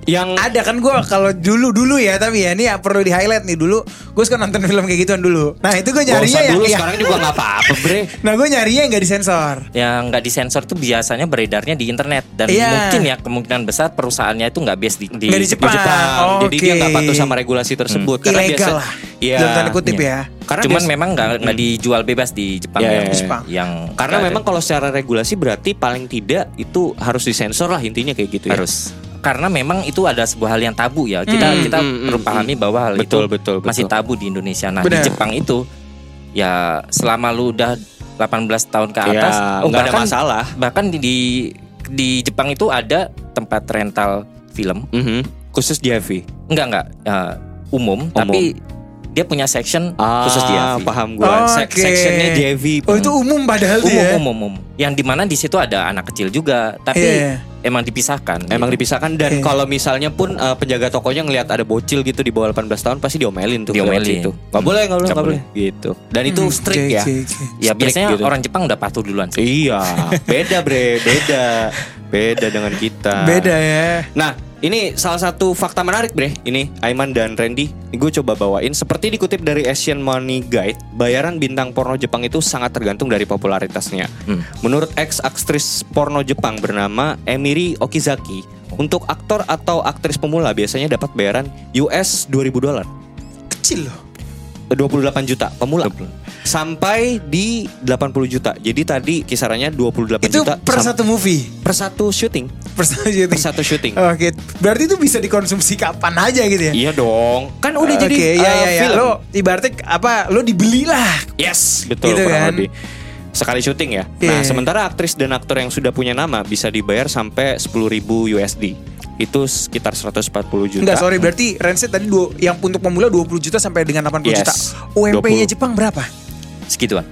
S2: Yang
S3: ada kan gue kalau dulu dulu ya tapi ya ini ya perlu di highlight nih dulu gue suka nonton film kayak gituan dulu nah itu gue
S2: Gak usah
S3: nyarinya yang
S2: dulu
S3: iya.
S2: sekarang juga nggak apa-apa, Bre.
S3: nah gue nyarinya yang gak disensor
S1: Yang nggak disensor itu biasanya beredarnya di internet dan
S3: Iya.
S1: mungkin ya kemungkinan besar perusahaannya itu nggak base di, di
S3: Nggak di Jepang.
S2: Jepang. Jadi dia
S3: Oke.
S2: nggak patuh sama regulasi tersebut karena biasa
S3: ilegal lah
S2: Iya.
S3: dalam tanda kutip
S1: Iya.
S3: ya
S2: Karena
S1: Cuman
S2: biasa-
S1: memang nggak nggak dijual bebas di Jepang
S2: Iya,
S1: yang,
S2: iya, iya.
S3: Jepang.
S1: yang
S2: Karena
S1: nggak ada.
S2: memang kalau secara regulasi berarti paling tidak itu harus disensor lah intinya kayak gitu ya.
S1: harus karena memang itu ada sebuah hal yang tabu ya kita
S3: Hmm.
S1: kita
S2: Hmm, hmm,
S1: perlu
S2: hmm.
S1: pahami bahwa hal
S2: Betul,
S1: itu
S2: betul, betul.
S1: masih tabu di Indonesia nah
S3: Benar.
S1: di Jepang itu ya selama lu udah 18 tahun ke
S2: Ya,
S1: atas oh,
S2: nggak ada
S1: bahkan
S2: masalah.
S1: bahkan di, di di Jepang itu ada tempat rental film
S2: Mhm. Khusus JAV.
S1: enggak enggak eh, umum, tapi dia punya section khusus dia
S2: Ah, paham gua. Sek-
S3: Oke.
S2: Sectionnya JV.
S3: oh itu umum padahal tuh
S1: umum
S2: Iya.
S3: ya
S1: umum umum yang dimana di situ ada anak kecil juga tapi
S3: Iya.
S1: emang dipisahkan
S2: Emang
S1: gitu.
S2: dipisahkan dan
S3: Oke.
S2: kalau misalnya pun eh, penjaga tokonya ngelihat ada bocil gitu di bawah 18 tahun pasti diomelin tuh.
S1: Diomelin.
S2: itu. Gak boleh, gak boleh,
S1: Nggak
S2: gak boleh. Gitu. Dan itu
S3: Hmm,
S2: strict
S3: oke,
S2: ya.
S3: oke, oke.
S1: ya
S2: Strict
S1: biasanya
S2: gitu.
S1: orang Jepang udah patuh duluan sih
S2: Iya, beda bre, beda. Beda dengan kita.
S3: beda ya
S2: Nah, ini salah satu fakta menarik, Bre. Ini Aiman dan Randy, gue coba bawain. Seperti dikutip dari Asian Money Guide, bayaran bintang porno Jepang itu sangat tergantung dari popularitasnya.
S1: Hmm.
S2: Menurut ex aktris porno Jepang bernama Emiri Okizaki, untuk aktor atau aktris pemula biasanya dapat bayaran US 2000 dolar, Eh,
S3: kecil loh
S2: 28 juta pemula. Sampai di 80 juta. Jadi tadi kisarannya 28
S3: itu
S2: juta
S3: per
S2: sam-
S3: satu movie
S2: per satu syuting,
S3: per satu syuting.
S2: per satu syuting.
S3: Oke, berarti itu bisa dikonsumsi kapan aja gitu ya?
S2: Iya dong. Kan udah
S3: Oke,
S2: jadi
S3: ya,
S2: uh,
S3: ya, ya.
S2: film.
S3: Lo ibaratnya apa? Lo dibelilah.
S2: Yes, betul
S3: Gitu
S2: kurang
S3: kan.
S2: lebih. Sekali syuting ya. Nah,
S3: Iya.
S2: sementara aktris dan aktor yang sudah punya nama bisa dibayar sampai 10.000 USD. Itu sekitar 140 juta.
S3: Enggak, sorry, berarti Renset tadi dua, yang untuk pemula 20 juta sampai dengan 80
S2: Yes,
S3: juta. UMP-nya
S2: 20.
S3: Jepang berapa?
S2: Iya.
S1: segituan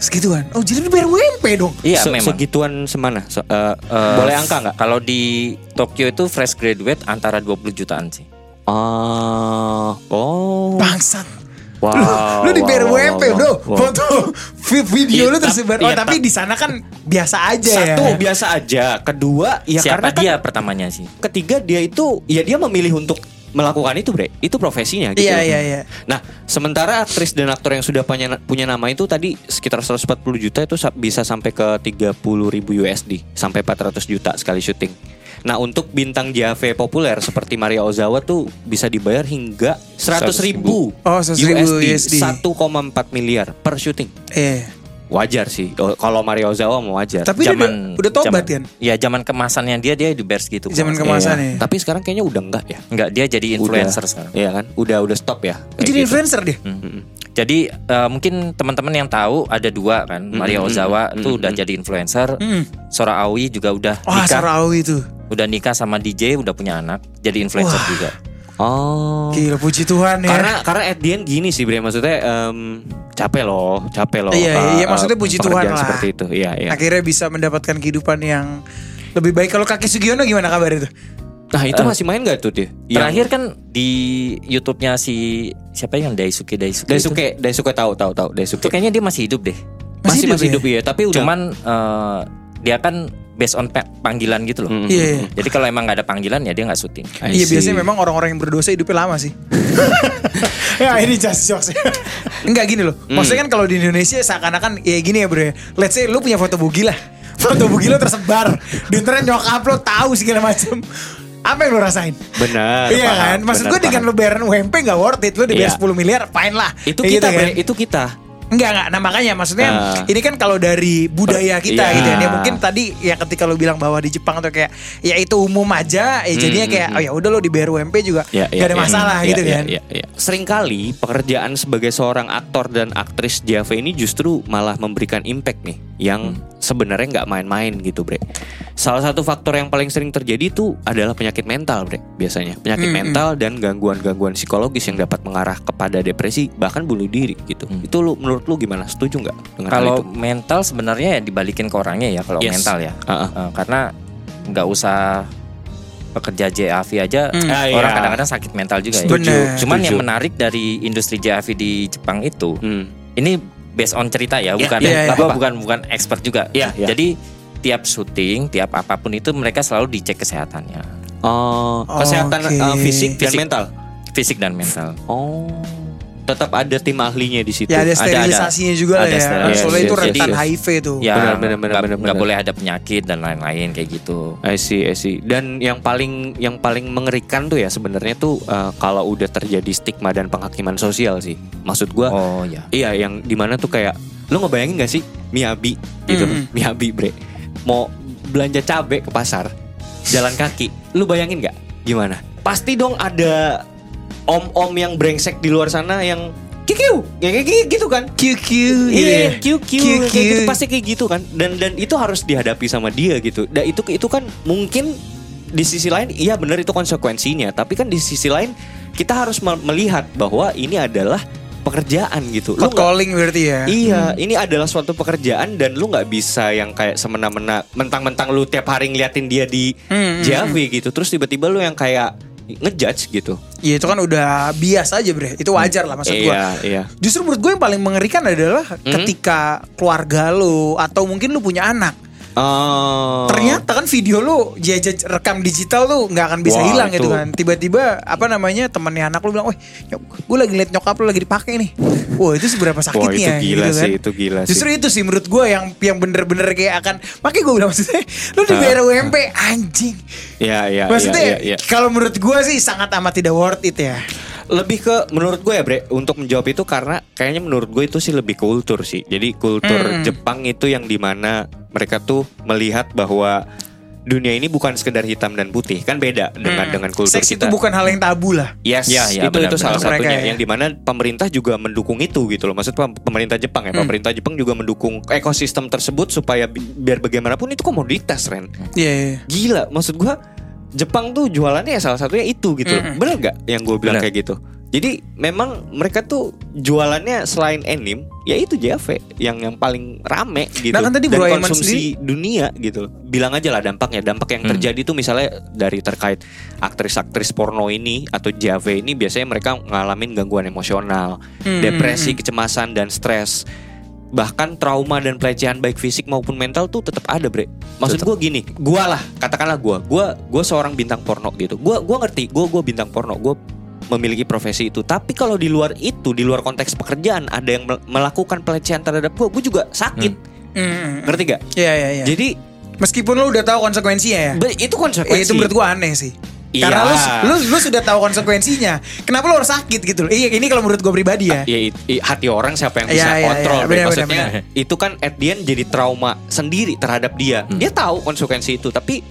S3: Segituan. Oh, jadi lu bayar UMP dong.
S1: iya
S2: Se-
S1: memang
S2: Segituan semana? Se- uh,
S1: Eh,
S2: boleh angka nggak?
S1: Kalau di Tokyo itu fresh graduate antara 20 jutaan sih.
S2: Ah, oh.
S3: Bangsat.
S2: Wow.
S3: lu dibayar
S2: wow, wow,
S3: UMP,
S2: wow,
S3: Bro.
S2: wow.
S3: Foto vi- video
S2: Iya,
S3: lu
S2: tap-
S3: tersebar.
S2: iya,
S3: oh, tapi
S2: tap.
S3: di sana kan biasa aja ya.
S2: Satu biasa aja. Kedua, ya
S1: Siapa
S2: karena kan
S1: dia pertamanya sih?
S2: ketiga dia itu ya dia memilih untuk melakukan itu, Bre. Itu profesinya gitu.
S3: Iya, iya, iya.
S2: Nah, sementara aktris dan aktor yang sudah punya, punya nama itu tadi sekitar 140 juta itu sa- bisa sampai ke 30 ribu USD sampai 400 juta sekali syuting. Nah, untuk bintang JAV populer seperti Maria Ozawa tuh bisa dibayar hingga 100 ribu
S3: Oh, 100.000 USD.
S2: 1,4 miliar per syuting.
S3: Eh,
S2: Wajar sih. Oh, Kalau Maria Ozawa mau wajar.
S3: tapi dia udah, udah tobat
S1: zaman,
S3: kan?
S1: Iya, zaman kemasannya dia dia di bears gitu.
S3: Zaman
S1: Kalau nggak
S3: kemasan ya.
S2: Iya. Tapi sekarang kayaknya udah enggak ya.
S1: salah. Enggak, dia jadi influencer
S2: Udah.
S1: sekarang.
S2: Iya kan? Udah udah stop ya. Kayak
S3: Jadi
S2: gitu.
S3: influencer dia.
S1: Mm. Jadi eh, mungkin teman-teman yang tahu ada dua kan, Maria Ozawa itu udah jadi influencer, Sora Aoi juga udah
S3: Mm. Wah,
S1: nikah,
S3: Sarawi itu.
S1: udah nikah sama DJ, udah punya anak, jadi influencer juga.
S2: Oh.
S3: Gila, puji Tuhan ya.
S2: Karena karena at the end gini sih Bre maksudnya em, capek loh, capek loh.
S3: Iya, iya,
S2: eh,
S3: iya, maksudnya
S2: eh,
S3: puji
S2: pekerjaan
S3: Tuhan lah.
S2: Seperti itu. Iya, iya.
S3: akhirnya bisa mendapatkan kehidupan yang lebih baik. Kalau Kaki Sugiono gimana kabar itu?
S2: Nah itu masih main gak tuh Iya. dia?
S1: Terakhir kan di YouTube-nya si siapa yang Daisuke Daisuke. itu?
S2: Daisuke, Daisuke tahu tahu tahu
S1: Itu
S2: Daisuke.
S1: kayaknya dia masih hidup deh.
S2: Masih
S3: hidup
S2: masih
S3: ya?
S2: hidup ya, tapi udah
S1: Cuman eh, dia kan based on pe- panggilan gitu loh.
S2: Mm-mm.
S3: Iya, iya.
S1: Jadi kalau emang nggak ada panggilan ya dia nggak syuting.
S2: I
S3: Iya
S2: see.
S3: biasanya memang orang-orang yang berdosa hidupnya lama sih. ya ini just jokes. Enggak gini loh.
S2: Hmm.
S3: Maksudnya kan kalau di Indonesia seakan-akan ya gini ya bro. ya. Let's say lu punya foto bugi lah. Foto bugi lu tersebar di internet nyokap lo tahu segala macam. Apa yang lu rasain?
S2: Benar.
S3: Iya
S2: paham,
S3: kan? Maksud
S2: benar,
S3: gue dengan
S2: paham.
S3: lu bayaran UMP gak worth it. Lu dibayar
S2: Iya.
S3: 10 miliar fine lah.
S2: itu
S3: Kayak
S2: kita,
S3: gitu kan.
S2: Bre, itu kita.
S3: Enggak enggak. Nah makanya maksudnya
S2: Ah.
S3: ini kan kalau dari budaya kita
S2: Iya.
S3: gitu ya. Ya, mungkin tadi ya ketika lu bilang bahwa di Jepang tuh kayak ya itu umum aja ya jadinya kayak oh ya udah lo di BRUMP juga
S2: Hmm, Ya, ya,
S3: gak ada
S2: ya.
S3: masalah
S2: Ya,
S3: gitu
S2: ya,
S3: kan.
S2: ya, ya. Seringkali pekerjaan sebagai seorang aktor dan aktris JAV ini justru malah memberikan impact nih yang
S3: Hmm.
S2: sebenarnya nggak main-main gitu, Bre. Salah satu faktor yang paling sering terjadi itu adalah penyakit mental, Bre. Biasanya penyakit
S3: Hmm,
S2: mental dan gangguan-gangguan psikologis yang dapat mengarah kepada depresi bahkan bunuh diri gitu.
S3: Hmm.
S2: Itu lu menurut lu gimana? Setuju nggak dengan hal
S1: Kalau
S2: itu?
S1: mental sebenarnya ya dibalikin ke orangnya ya kalau
S2: Yes.
S1: mental ya.
S2: Ah, ah.
S1: Eh, karena nggak usah pekerja JAV aja
S3: Hmm.
S2: Ah,
S1: orang
S2: iya.
S1: kadang-kadang sakit mental juga ya.
S3: Setuju,
S1: Cuman
S2: setuju.
S1: yang menarik dari industri JAV di Jepang itu
S2: Hmm.
S1: ini based on cerita ya, bukan
S3: iya, iya.
S1: gua bukan bukan expert juga.
S2: Iya, iya.
S1: Jadi tiap syuting, tiap apapun itu mereka selalu dicek kesehatannya,
S2: Oh, kesehatan
S3: Oke.
S2: eh, fisik, dan
S1: Fisik.
S2: mental.
S1: fisik dan mental.
S2: Oh, tetap ada tim ahlinya di situ.
S3: Ya
S1: Ada,
S3: ada
S1: ada.
S3: sterilisasinya juga lah
S1: Ada
S3: ya.
S1: sterilisasi.
S3: Soalnya itu
S2: Yes, yes,
S3: rentan
S2: yes.
S3: HIV tuh.
S1: Ya,
S2: Benar, benar, benar,
S1: nggak-
S2: benar,
S1: nggak
S2: benar.
S1: boleh ada penyakit dan lain-lain kayak gitu.
S2: I see, I see. Dan yang paling yang paling mengerikan tuh ya sebenarnya tuh eh, kalau udah terjadi stigma dan penghakiman sosial sih. Maksud gua
S1: Oh ya.
S2: iya yang dimana tuh kayak lu ngebayangin gak sih Miyabi gitu,
S3: Mm.
S2: Miyabi bre. Mau belanja cabe ke pasar, jalan kaki. Lu bayangin nggak? Gimana? Pasti dong ada om-om yang brengsek di luar sana yang kikiu, kayak gitu kan.
S3: QQ gitu ya.
S2: Iya, QQ,
S3: Kiu,
S2: kayak gitu,
S3: kiu.
S2: pasti kayak gitu kan. Dan dan itu harus dihadapi sama dia gitu. Dan itu itu kan mungkin di sisi lain iya benar itu konsekuensinya, tapi kan di sisi lain kita harus me- melihat bahwa ini adalah pekerjaan gitu. Lu
S3: Cold
S2: nggak-
S3: calling berarti ya.
S2: Iya, ini adalah suatu pekerjaan dan lu nggak bisa yang kayak semena-mena mentang-mentang lu tiap hari ngeliatin dia di
S3: Hmm, hmm,
S2: JAV gitu. Terus tiba-tiba lu yang kayak ngejudge gitu.
S3: Ya itu kan udah bias aja bre. Itu wajar lah maksud gua.
S2: iya, Hmm? iya.
S3: Justru menurut gue yang paling mengerikan adalah ketika keluarga lo atau mungkin lu punya anak.
S2: Oh.
S3: Ternyata kan video lu jaj- rekam digital tuh nggak akan bisa
S2: Wah,
S3: hilang
S2: itu.
S3: gitu kan. Tiba-tiba apa namanya temennya anak lu bilang, "Wah, gue lagi liat nyokap lu lagi dipakai nih." Wah, itu seberapa
S2: Wah,
S3: sakitnya
S2: itu gila
S3: gitu
S2: sih, itu gila sih.
S3: Justru itu sih menurut gue yang yang bener-bener kayak akan makanya gue bilang maksudnya lu di
S2: Ah,
S3: BRUMP anjing.
S2: Iya, iya,
S3: Maksudnya
S2: iya, iya, iya.
S3: kalau menurut gue sih sangat amat tidak worth it ya.
S2: lebih ke menurut gue ya Bre untuk menjawab itu karena kayaknya menurut gue itu sih lebih kultur sih jadi kultur Jepang itu yang dimana mereka tuh melihat bahwa dunia ini bukan sekedar hitam dan putih kan beda dengan dengan kultur
S3: Mm. Hmm. Seks
S2: kita
S3: itu bukan hal yang tabu lah.
S2: Yes,
S1: Ya, ya,
S2: itu itu
S1: benar-benar.
S2: salah
S3: Untuk mereka
S2: satunya
S3: ya.
S2: yang dimana pemerintah juga mendukung itu gitu loh. Maksud pem- pemerintah Jepang
S3: Mm.
S2: ya, pemerintah Jepang juga mendukung ekosistem tersebut supaya bi- biar bagaimanapun itu komoditas Ren
S3: Iya. iya.
S2: gila maksud gua Jepang tuh jualannya ya salah satunya itu gitu loh. bener gak yang gue bilang
S1: Bener.
S2: kayak gitu jadi memang mereka tuh jualannya selain anime ya itu JAV yang yang paling rame gitu
S3: Nah, kan tadi
S2: dan
S3: Bro Aiman
S2: konsumsi dunia gitu loh. bilang aja lah dampaknya dampak yang terjadi tuh misalnya dari terkait aktris-aktris porno ini atau JAV ini biasanya mereka ngalamin gangguan emosional depresi kecemasan dan stres bahkan trauma dan pelecehan baik fisik maupun mental tuh tetap ada bre maksud gue gini gue lah katakanlah gue gue gue seorang bintang porno gitu gue gua ngerti gue gue bintang porno gue memiliki profesi itu tapi kalau di luar itu di luar konteks pekerjaan ada yang mel- melakukan pelecehan terhadap gue gue juga sakit
S3: Mm, mm.
S2: ngerti gak
S3: Iya iya iya.
S2: jadi
S3: Meskipun lu udah tahu konsekuensinya ya.
S2: bre, itu
S3: Eh,
S2: konsekuensi
S3: itu menurut gua aneh sih.
S2: Iya.
S3: Karena lu, lu, lu sudah tahu konsekuensinya. Kenapa lu harus sakit gitu? loh. Iya, ini kalau menurut gua pribadi ya.
S2: ya i- i- hati orang siapa yang bisa
S3: Iya, iya,
S2: kontrol
S3: iya.
S2: Bre.
S3: Benar,
S2: maksudnya
S3: benar,
S2: itu kan at the end jadi trauma sendiri terhadap dia
S3: Hmm.
S2: dia tahu konsekuensi itu tapi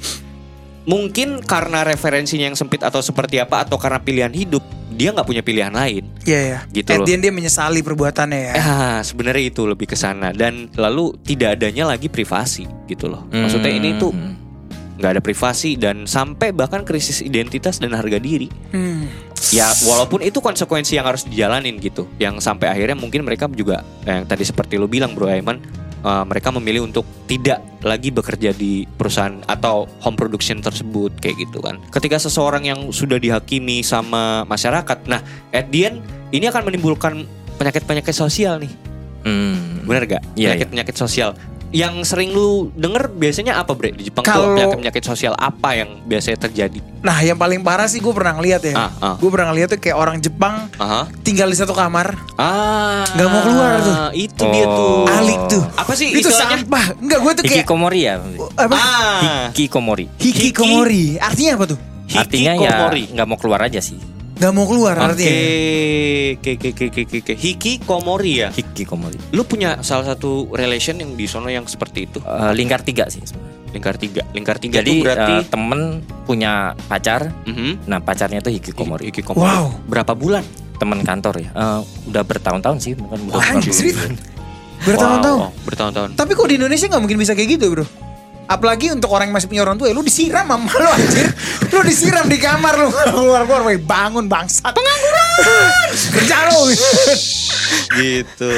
S2: mungkin karena referensinya yang sempit atau seperti apa atau karena pilihan hidup dia nggak punya pilihan lain
S3: Iya iya.
S2: Gitu
S3: At
S2: loh.
S3: the end dia menyesali perbuatannya ya.
S2: ah sebenarnya itu lebih ke sana dan lalu tidak adanya lagi privasi gitu loh maksudnya ini tuh
S1: Hmm.
S2: nggak ada privasi dan sampai bahkan krisis identitas dan harga diri
S3: Hmm.
S2: ya walaupun itu eh, konsekuensi yang harus dijalanin gitu yang sampai akhirnya mungkin mereka juga yang tadi seperti lu bilang bro Aiman eh, mereka memilih untuk tidak lagi bekerja di perusahaan atau home production tersebut kayak gitu kan. Ketika seseorang yang sudah dihakimi sama masyarakat, nah at the end ini akan menimbulkan penyakit-penyakit sosial nih.
S1: Hmm.
S2: Bener gak?
S1: Iya,
S2: Penyakit-penyakit sosial. Yang sering lu denger biasanya apa Bre? Di Jepang
S3: Kalau-
S2: tuh penyakit-penyakit sosial apa yang biasanya terjadi?
S3: Nah yang paling parah sih gue pernah ngeliat ya.
S2: Ah, ah.
S3: Gue pernah ngeliat tuh kayak orang Jepang
S2: Aha.
S3: tinggal di satu kamar.
S2: Ah,
S3: Nggak mau keluar tuh.
S2: Itu
S1: Oh.
S2: dia tuh.
S3: Alik tuh.
S2: Apa sih
S3: itu
S2: istilahnya?
S3: sampah. Enggak gue tuh kayak
S1: Hikikomori ya.
S3: apa?
S2: Ah.
S1: Hikikomori.
S3: hikikomori. Artinya apa tuh?
S2: Hiki-
S1: Artinya ya
S2: hikikomori.
S1: nggak mau keluar aja sih.
S3: Gak mau keluar
S2: Oke,
S3: artinya.
S2: oke, oke, oke, oke, oke. Hiki komori ya.
S1: Hikikomori.
S2: Lu punya salah satu relation yang di sono yang seperti itu.
S1: Eh, lingkar tiga sih. sebenarnya.
S2: Lingkar tiga, lingkar tiga
S1: Jadi
S2: itu berarti.
S1: eh, temen punya pacar.
S2: Mhm.
S1: Nah pacarnya tuh hikikomori.
S2: Hiki komori.
S3: Wow.
S2: Berapa bulan?
S1: Temen kantor ya. Eh, udah bertahun-tahun sih. Bukan,
S2: Oh,
S1: bukan- bukan
S3: Anjir.
S1: dulu.
S3: Bertahun-tahun.
S2: Wow, bertahun-tahun.
S3: Tapi kok di Indonesia nggak mungkin bisa kayak gitu bro? Apalagi untuk orang yang masih punya orang tua, ya lu disiram sama lu anjir. Lu disiram di kamar lu keluar-keluar, weh bangun bangsat. Pengangguran. Kerja lu.
S2: gitu.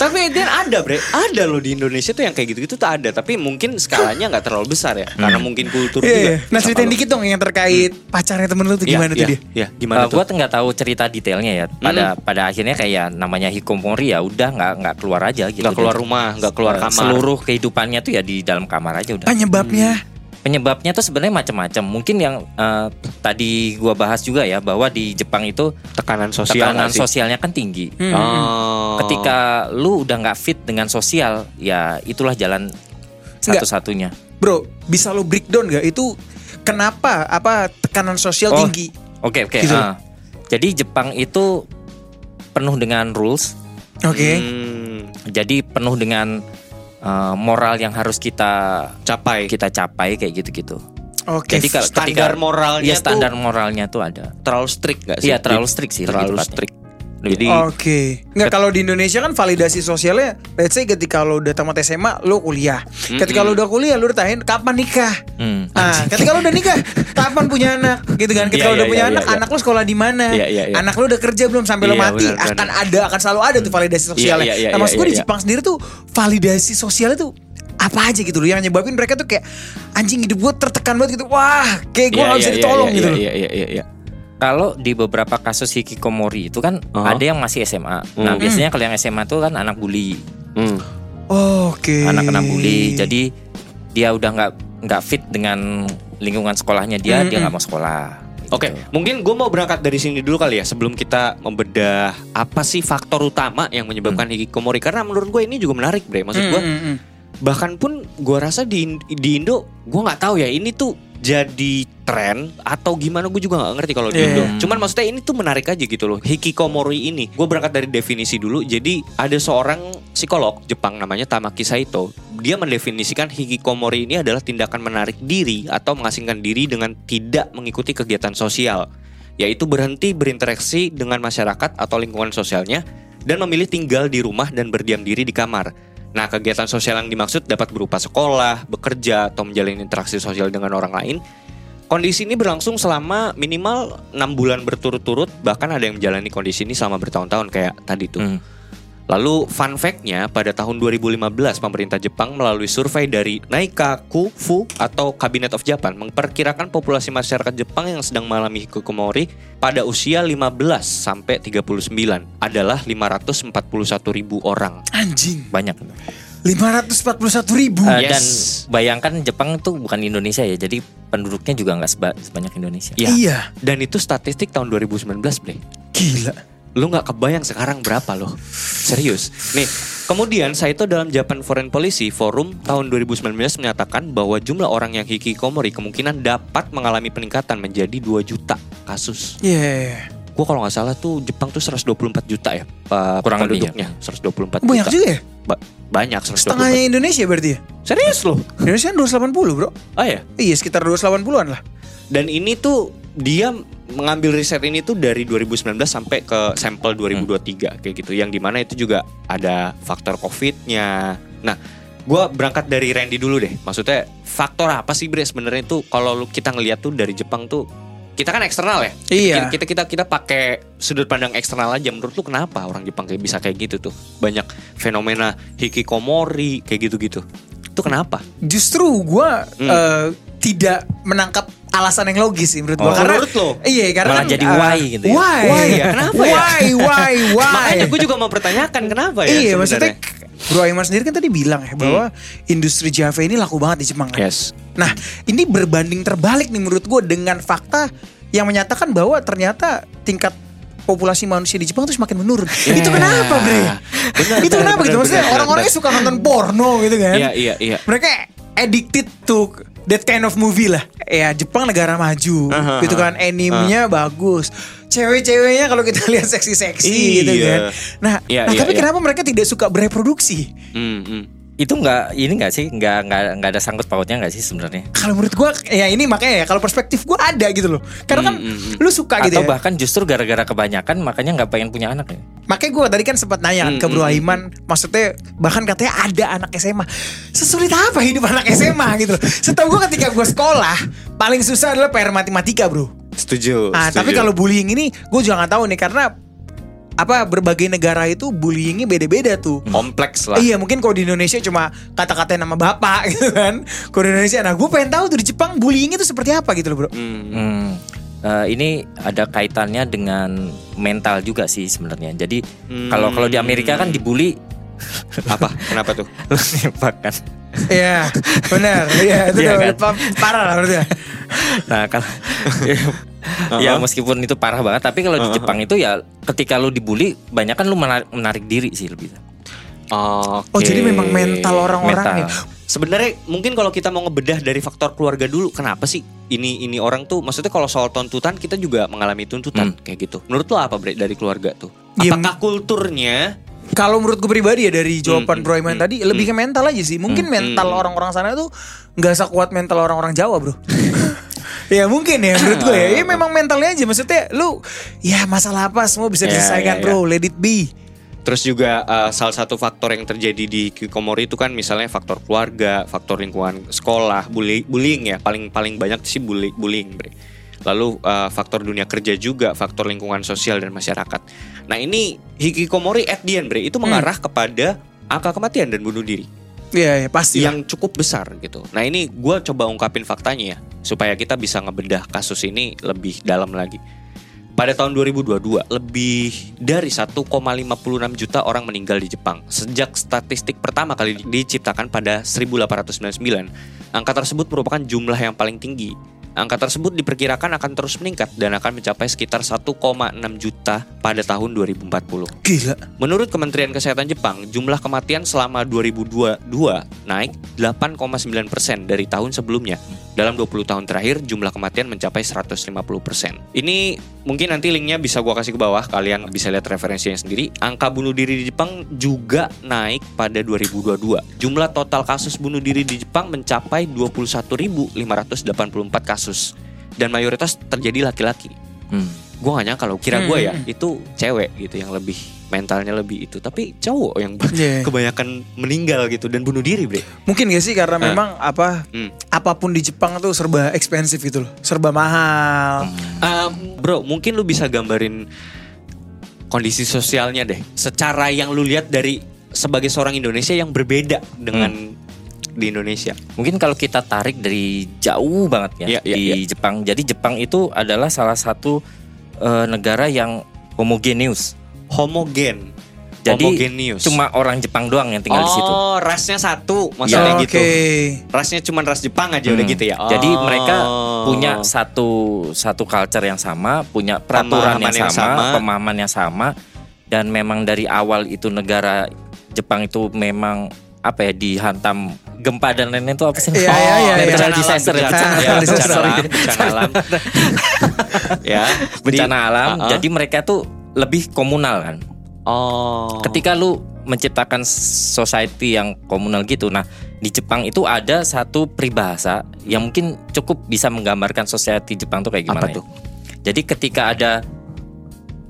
S2: Tapi dan ada bre, ada loh di Indonesia tuh yang kayak gitu-gitu tuh ada. Tapi mungkin skalanya nggak terlalu besar ya, karena mungkin kultur
S3: Iya,
S2: juga.
S3: iya. Nah ceritain dikit dong yang terkait
S1: Hmm.
S3: pacarnya temen lu tuh
S1: Iya,
S3: gimana tuh dia?
S2: Ya, gimana tuh? Hmm.
S1: gue Eh, nggak tahu cerita detailnya ya. Pada pada akhirnya kayak namanya hikikomori ya udah nggak nggak keluar aja gitu.
S2: Nggak keluar
S1: Dia-
S2: rumah, nggak keluar
S1: eh,
S2: kamar.
S1: Seluruh kehidupannya tuh ya di dalam kamar aja udah.
S3: Penyebabnya.
S1: penyebabnya tuh sebenarnya macam-macam. Mungkin yang eh, tadi gua bahas juga ya bahwa di Jepang itu
S2: tekanan sosial.
S1: tekanan
S2: nggak sih?
S1: sosialnya kan tinggi.
S3: Hmm.
S2: Oh.
S1: Ketika lu udah nggak fit dengan sosial, ya itulah jalan satu-satunya.
S3: Bro, bisa lu breakdown gak itu kenapa apa tekanan sosial
S1: Oh.
S3: tinggi?
S1: Oke oke.
S3: Gitu.
S1: ah. jadi Jepang itu penuh dengan rules.
S3: Oke.
S2: Hmm,
S1: Jadi penuh dengan eh, moral yang harus kita
S2: capai
S1: kita capai kayak gitu-gitu.
S3: Oke.
S1: Jadi kalau
S2: standar moralnya
S1: ya standar
S2: tuh
S1: moralnya tuh ada.
S2: terlalu strict nggak sih?
S1: Iya terlalu strict sih. lebih
S2: Iya, terlalu
S1: tepatnya.
S2: strict. Jadi
S3: Oh, Oke, nggak kalau di Indonesia kan validasi sosialnya, let's say ketika lo udah tamat SMA, lo kuliah. Ketika lo udah kuliah, lo ditanyain kapan nikah.
S1: Hmm.
S3: Nah, ketika lo udah nikah, kapan punya anak, gitu kan? Ketika
S2: Iya,
S3: lo udah
S2: iya,
S3: punya
S2: iya,
S3: anak,
S2: iya.
S3: anak lo sekolah di mana?
S2: Iya, iya, iya.
S3: Anak lo udah kerja belum sampai lo
S2: Iya,
S3: mati?
S2: benar,
S3: akan
S2: benar.
S3: ada, akan selalu ada tuh validasi sosialnya.
S2: Iya, iya,
S3: nah,
S2: iya,
S3: maksud gue
S2: iya,
S3: di
S2: iya.
S3: Jepang sendiri tuh validasi sosialnya tuh apa aja gitu loh yang nyebabin mereka tuh kayak anjing hidup gue tertekan banget gitu wah kayak gue
S2: Iya,
S3: nggak
S2: iya,
S3: bisa
S2: iya,
S3: ditolong
S2: iya,
S3: gitu loh
S2: Iya iya iya iya.
S1: Kalau di beberapa kasus hikikomori itu kan
S2: Aha.
S1: ada yang masih SMA. Nah,
S2: Hmm.
S1: biasanya kalau yang SMA tuh kan anak bully,
S2: Hmm.
S3: oke
S1: anak kena bully. Jadi dia udah nggak nggak fit dengan lingkungan sekolahnya dia, dia nggak mau sekolah.
S2: Hmm, Oke,
S1: Gitu.
S2: mungkin gue mau berangkat dari sini dulu kali ya sebelum kita membedah apa sih faktor utama yang menyebabkan hikikomori karena menurut gue ini juga menarik bre. Maksud gue
S3: Hmm, hmm, hmm.
S2: bahkan pun gue rasa di di Indo gue nggak tahu ya ini tuh jadi tren atau gimana gue juga nggak ngerti kalau di
S3: Iya.
S2: Indo. Cuman maksudnya ini tuh menarik aja gitu loh hikikomori ini. Gue berangkat dari definisi dulu. Jadi ada seorang psikolog Jepang namanya Tamaki Saito. Dia mendefinisikan hikikomori ini adalah tindakan menarik diri atau mengasingkan diri dengan tidak mengikuti kegiatan sosial, yaitu berhenti berinteraksi dengan masyarakat atau lingkungan sosialnya dan memilih tinggal di rumah dan berdiam diri di kamar. Nah, kegiatan sosial yang dimaksud dapat berupa sekolah, bekerja, atau menjalin interaksi sosial dengan orang lain. Kondisi ini berlangsung selama minimal 6 bulan berturut-turut, bahkan ada yang menjalani kondisi ini selama bertahun-tahun kayak tadi tuh.
S1: Hmm.
S2: Lalu fun fact-nya pada tahun 2015 pemerintah Jepang melalui survei dari Naikaku Fu atau Cabinet of Japan memperkirakan populasi masyarakat Jepang yang sedang mengalami hikikomori pada usia 15 sampai 39 adalah 541 ribu orang.
S3: anjing
S1: banyak.
S3: 541 ribu
S1: Eh,
S2: Hmm, Yes.
S1: Dan bayangkan Jepang tuh bukan Indonesia ya. Jadi penduduknya juga nggak seba- sebanyak Indonesia.
S2: Iya.
S3: Iya
S2: Dan itu statistik tahun 2019, Bre.
S3: Gila
S2: Lu nggak kebayang sekarang berapa loh. Serius. Nih, kemudian Saito dalam Japan Foreign Policy Forum tahun 2019 menyatakan bahwa jumlah orang yang hikikomori kemungkinan dapat mengalami peningkatan menjadi 2 juta kasus.
S3: Iya
S2: Gua kalau nggak salah tuh Jepang tuh 124 juta ya pa-
S1: Kurang lebih,
S2: penduduknya. 124
S3: Banyak
S2: juta.
S3: juga ya
S2: Ba- banyak 124.
S3: Setengahnya Indonesia berarti ya
S2: Serius loh.
S3: Indonesia kan 280 bro
S2: Ah ya.
S3: Iya sekitar 280an lah
S2: Dan ini tuh dia mengambil riset ini tuh dari 2019 sampai ke
S3: Hmm.
S2: sampel 2023 kayak gitu. Yang dimana itu juga ada faktor COVID-nya. Nah, gua berangkat dari Randy dulu deh. Maksudnya faktor apa sih Bre sebenarnya tuh kalau lu- kita ngeliat tuh dari Jepang tuh kita kan eksternal ya.
S3: Iya.
S2: Kita kita kita, kita pakai sudut pandang eksternal aja. Menurut lu kenapa orang Jepang kayak bisa kayak gitu tuh? Banyak fenomena hikikomori kayak gitu-gitu. Itu kenapa?
S3: justru gue
S2: Hmm.
S3: tidak menangkap alasan yang logis sih menurut gue.
S2: Oh,
S3: Karena
S2: menurut lo?
S3: iya karena
S1: Malah
S3: kan,
S1: jadi
S3: eh,
S1: why gitu ya?
S3: Why?
S2: Why ya? Kenapa ya?
S3: Why? Why? Why?
S2: Makanya gue juga mempertanyakan kenapa ya.
S3: Iya
S2: sebenarnya. Hmm.
S3: maksudnya Bro Aiman sendiri kan tadi bilang ya bahwa industri Java ini laku banget di Jepang kan.
S2: Yes.
S3: Nah ini berbanding terbalik nih menurut gue dengan fakta yang menyatakan bahwa ternyata tingkat populasi manusia di Jepang tuh semakin menurun.
S2: Iya,
S3: Itu kenapa bre?
S2: Benar,
S3: Itu
S2: benar,
S3: kenapa
S2: benar,
S3: gitu? Maksudnya
S2: benar,
S3: orang-orangnya
S2: benar.
S3: suka nonton porno gitu kan?
S2: Iya iya iya.
S3: mereka addicted to that kind of movie lah. Ya Jepang negara maju
S2: Aha, Ah.
S3: gitu kan animenya bagus. Cewek-ceweknya kalau kita lihat seksi-seksi gitu
S2: Iya.
S3: kan. Nah,
S2: Iya,
S3: nah
S2: iya,
S3: tapi
S2: iya.
S3: kenapa mereka tidak suka bereproduksi?
S2: Hmm, hmm.
S1: Itu nggak ini nggak sih nggak nggak nggak ada sangkut pautnya nggak sih sebenarnya?
S3: Kalau menurut gua ya ini makanya ya kalau perspektif gua ada gitu loh. Karena
S2: Hmm,
S3: kan lu suka gitu
S1: Atau
S3: ya.
S1: bahkan justru gara-gara kebanyakan makanya nggak pengen punya anak ya?
S3: Makanya gue tadi kan sempat nanya
S2: Hmm,
S3: kan ke Bro Aiman, maksudnya bahkan katanya ada anak SMA. Sesulit apa hidup anak SMA gitu loh. Setahu gue ketika gue sekolah, paling susah adalah PR matematika bro.
S2: Setuju. Oh,
S3: Ah,
S2: setuju.
S3: tapi kalau bullying ini gue juga nggak tahu nih karena apa berbagai negara itu bullyingnya beda-beda tuh.
S2: kompleks lah.
S3: Iya mungkin kalau di Indonesia cuma kata-kata nama bapak gitu kan. Kalau di Indonesia, nah gue pengen tahu tuh di Jepang bullyingnya itu seperti apa gitu loh bro.
S2: Hmm.
S1: Hmm. Eh, ini ada kaitannya dengan mental juga sih sebenarnya. Jadi
S2: Hmm.
S1: kalau kalau di Amerika kan dibully
S2: Apa? Kenapa tuh?
S1: lu nembak kan.
S3: Iya benar, iya itu
S1: Iya
S3: udah
S1: kan?
S3: pa- parah lah ya. menurut gue.
S1: Nah, kalau
S2: Uh-huh.
S1: ya meskipun itu parah banget, tapi kalau di Jepang itu ya ketika lu dibully, banyak kan lu menar- menarik, diri sih lebih.
S3: Oh
S2: Oke.
S3: jadi memang
S2: iya.
S3: mental ya. orang-orangnya.
S1: Mental.
S2: Sebenarnya mungkin kalau kita mau ngebedah dari faktor keluarga dulu, kenapa sih ini ini orang tuh? Maksudnya kalau soal tuntutan kita juga mengalami tuntutan kayak gitu. Menurut lo apa Bre dari keluarga tuh?
S3: Iya,
S2: Apakah kulturnya?
S3: Kalau menurut gue pribadi ya dari jawaban Bro Iman tadi lebih ke mental aja sih. Mungkin mental orang-orang sana tuh nggak sekuat mental orang-orang Jawa, Bro. ya mungkin ya menurut gue ya. Ya memang mentalnya aja maksudnya lu ya masalah apa semua bisa
S2: Ya, ya,
S3: diselesaikan,
S2: ya.
S3: Bro. Let it be.
S2: Terus juga eh, salah satu faktor yang terjadi di Kikomori itu kan misalnya faktor keluarga, faktor lingkungan sekolah, bully- bullying ya paling paling banyak sih bully, bullying, Bre. Lalu eh, faktor dunia kerja juga, faktor lingkungan sosial dan masyarakat. Nah ini Hikikomori at the end, Bre, itu mengarah kepada angka kematian dan bunuh diri.
S3: Iya, ya, pasti. lah.
S2: yang cukup besar gitu. Nah ini gue coba ungkapin faktanya ya supaya kita bisa ngebedah kasus ini lebih dalam lagi. Pada tahun 2022 lebih dari 1,56 juta orang meninggal di Jepang sejak statistik pertama kali di- diciptakan pada 1899. Angka tersebut merupakan jumlah yang paling tinggi. Angka tersebut diperkirakan akan terus meningkat dan akan mencapai sekitar 1,6 juta pada tahun 2040.
S3: gila.
S2: Menurut Kementerian Kesehatan Jepang, jumlah kematian selama 2022 naik 8,9% dari tahun sebelumnya. Dalam 20 tahun terakhir, jumlah kematian mencapai 150%. Ini mungkin nanti linknya bisa gua kasih ke bawah, kalian bisa lihat referensinya sendiri. Angka bunuh diri di Jepang juga naik pada 2022. Jumlah total kasus bunuh diri di Jepang mencapai 21.584 kasus. Dan mayoritas terjadi laki-laki
S1: Hmm.
S2: gue gak nyangka loh kira gue ya itu cewek gitu yang lebih mentalnya lebih itu tapi cowok yang
S3: Iya.
S2: kebanyakan meninggal gitu dan bunuh diri bre
S3: Mungkin gak sih karena memang apa
S2: Hmm.
S3: apapun di Jepang tuh serba ekspensif gitu loh. Serba mahal.
S2: Ah, bro mungkin lu bisa gambarin kondisi sosialnya deh secara yang lu lihat dari sebagai seorang Indonesia yang berbeda dengan di Indonesia
S1: Mungkin kalau kita tarik dari jauh banget ya
S2: Iya, iya,
S1: di Jepang. Jadi Jepang itu adalah salah satu eh, negara yang homogeneus.
S2: homogen
S1: Jadi
S2: homogenius
S1: cuma orang Jepang doang yang tinggal
S2: oh,
S1: di situ.
S2: rasnya satu maksudnya
S3: Oke.
S2: gitu rasnya cuma ras Jepang aja udah
S1: Hmm.
S2: gitu ya
S1: Jadi
S2: Oh.
S1: mereka punya satu satu culture yang sama, punya peraturan
S2: Pemahaman
S1: yang,
S2: yang
S1: sama,
S2: sama.
S1: pemahaman yang sama, dan memang dari awal itu negara Jepang itu memang apa ya dihantam gempa dan lain-lain itu apa sih?
S3: Iya, iya, iya, iya.
S1: natural
S2: bencana
S1: Oh, disaster, ya,
S2: alam,
S1: bencana,
S2: bencana, ya,
S3: disaster.
S2: bencana alam,
S3: Sorry.
S2: bencana alam. ya, di-
S1: bencana alam.
S2: Uh-uh.
S1: Jadi mereka tuh lebih komunal kan.
S2: oh,
S1: Ketika lu menciptakan society yang komunal gitu, nah di Jepang itu ada satu peribahasa yang mungkin cukup bisa menggambarkan society Jepang tuh kayak gimana
S2: apa
S1: ya.
S2: tuh?
S1: Jadi ketika ada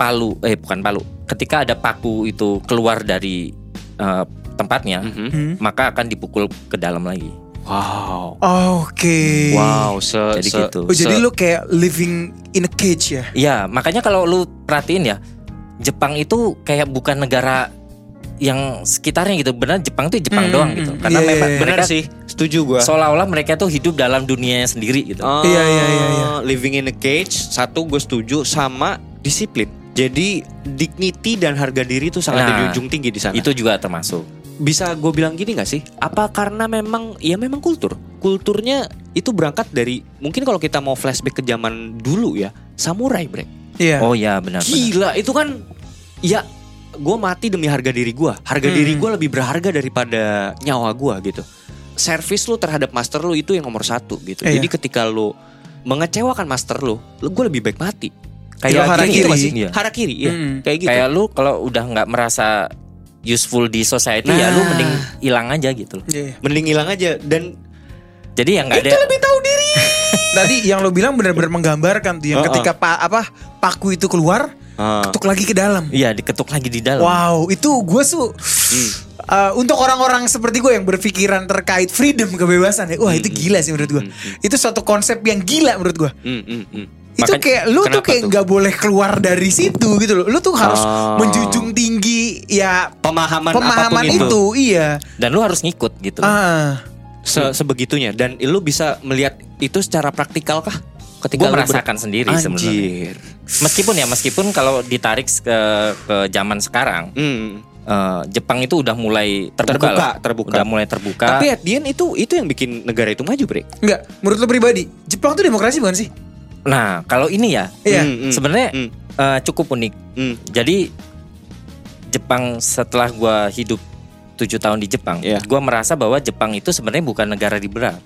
S1: palu, eh bukan palu, ketika ada paku itu keluar dari eh, tempatnya,
S2: Mhm.
S3: Hmm.
S1: maka akan dipukul ke dalam lagi.
S2: Wow.
S3: Oke.
S2: Wow, se
S1: Jadi
S2: se-
S1: gitu.
S3: Oh, jadi
S2: se-
S3: lu kayak living in a cage ya?
S1: Iya, makanya kalau lu perhatiin ya, Jepang itu kayak bukan negara yang sekitarnya gitu. Benar Jepang tuh Jepang
S3: Hmm,
S1: doang gitu.
S3: hmm,
S1: Karena
S3: iya,
S1: memang
S3: iya, iya.
S1: mereka
S2: benar sih, setuju gua.
S1: seolah-olah mereka tuh hidup dalam dunianya sendiri gitu.
S2: Ah,
S3: Iya, iya, iya, iya.
S2: Living in a cage, satu gue setuju sama disiplin. Jadi dignity dan harga diri itu sangat
S1: Nah,
S2: di ujung tinggi di sana.
S1: Itu juga termasuk.
S2: bisa gue bilang gini gak sih? Apa karena memang ya memang kultur. Kulturnya itu berangkat dari mungkin kalau kita mau flashback ke zaman dulu ya, samurai, Bre.
S3: Iya.
S1: Oh iya benar. benar.
S2: Gila, itu kan ya gue mati demi harga diri gue. Harga
S3: Hmm.
S2: diri gue lebih berharga daripada nyawa gue gitu. Service lu terhadap master lu itu yang nomor satu gitu.
S3: Iya.
S2: Jadi ketika lu mengecewakan master lu, lu gue lebih baik mati.
S3: Kayak harakiri.
S2: gitu nggak sih?
S1: Iya.
S2: Harakiri, ya.
S3: Mm-mm.
S2: Kayak gitu.
S1: Kayak lu kalau udah nggak merasa useful di society ya lu
S2: Nah.
S1: mending hilang aja gitu loh.
S3: Iya.
S2: Mending hilang aja dan
S1: Jadi yang nggak ada
S3: tahu diri. Tadi yang lo bilang benar-benar menggambarkan tuh yang
S2: Heeh.
S3: ketika pa- apa paku itu keluar,
S1: Ah.
S3: ketuk lagi ke dalam.
S1: Iya, diketuk lagi di dalam.
S3: Wow, itu gue tuh Uh, untuk orang-orang seperti gue yang berpikiran terkait freedom kebebasan ya, wah itu gila sih menurut gue. Itu suatu konsep yang gila menurut gue.
S2: Mm, mm, mm.
S3: Itu
S2: Makanya-
S3: kayak lu tuh
S2: kenapa
S3: kayak nggak boleh keluar dari situ gitu loh. Lu tuh harus
S2: Oh.
S3: menjunjung tinggi ya
S2: pemahaman,
S3: pemahaman
S2: apapun
S3: itu.
S2: itu,
S3: iya.
S1: Dan lu harus ngikut gitu. loh.
S3: Ah,
S2: Se- sebegitunya dan lu bisa melihat itu secara praktikal kah?
S1: Gua
S2: lu ber-
S1: merasakan sendiri sebenarnya.
S2: Anjir.
S1: Meskipun ya, meskipun kalau ditarik ke ke zaman sekarang,
S2: Mm.
S1: eh, Jepang itu udah mulai terbuka,
S2: Terbuka,
S1: lah.
S2: terbuka.
S1: udah mulai terbuka.
S2: Tapi at the end itu itu yang bikin negara itu maju, Bre.
S3: nggak. Menurut lo pribadi, Jepang tuh demokrasi bukan sih?
S1: nah, kalau ini ya,
S3: Iya.
S2: Mm, mm,
S1: sebenarnya
S2: mm,
S1: eh, cukup unik.
S2: mm.
S1: Jadi Jepang setelah gua hidup tujuh tahun di Jepang,
S2: Iya.
S1: gua merasa bahwa Jepang itu sebenarnya bukan negara liberal.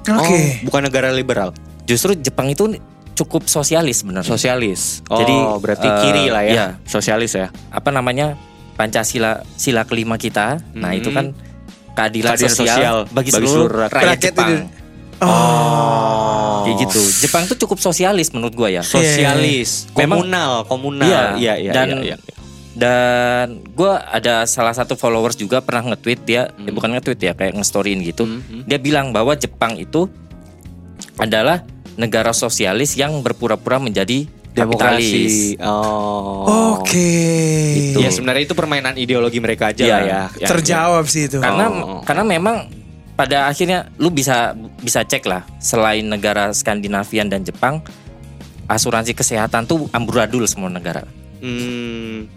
S3: Oke.
S2: Oh, bukan negara liberal,
S1: Justru Jepang itu cukup sosialis sebenarnya.
S2: sosialis.
S1: Jadi,
S2: Jadi berarti
S1: eh,
S2: kiri lah ya,
S1: iya.
S2: sosialis ya.
S1: apa namanya Pancasila sila kelima kita. Nah
S2: Hmm.
S1: itu kan keadilan,
S2: Keadilan
S1: sosial,
S2: sosial
S1: bagi
S2: bagi
S1: seluruh
S2: seluruh
S1: rakyat,
S2: rakyat
S1: Jepang.
S3: Indonesia. Oh.
S1: Kayak gitu. Jepang tuh cukup sosialis menurut gua ya.
S2: Sosialis,
S1: Memang-
S2: komunal, komunal.
S1: Iya.
S2: iya, iya,
S1: Dan-
S2: iya, iya.
S1: Dan gua ada salah satu followers juga pernah nge-tweet dia, ya
S2: Hmm.
S1: bukan nge-tweet ya kayak nge-storyin gitu.
S2: Hmm, hmm.
S1: Dia bilang bahwa Jepang itu adalah negara sosialis yang berpura-pura menjadi kapitalis.
S2: demokrasi. Oh.
S3: Oke.
S1: Gitu.
S2: Ya sebenarnya itu permainan ideologi mereka aja
S1: Iya.
S2: lah ya. Ya,
S3: Terjawab sih itu.
S1: karena
S2: Oh.
S1: karena memang pada akhirnya lu bisa bisa cek lah selain negara Skandinavian dan Jepang asuransi kesehatan tuh amburadul semua negara
S2: ya. Hmm,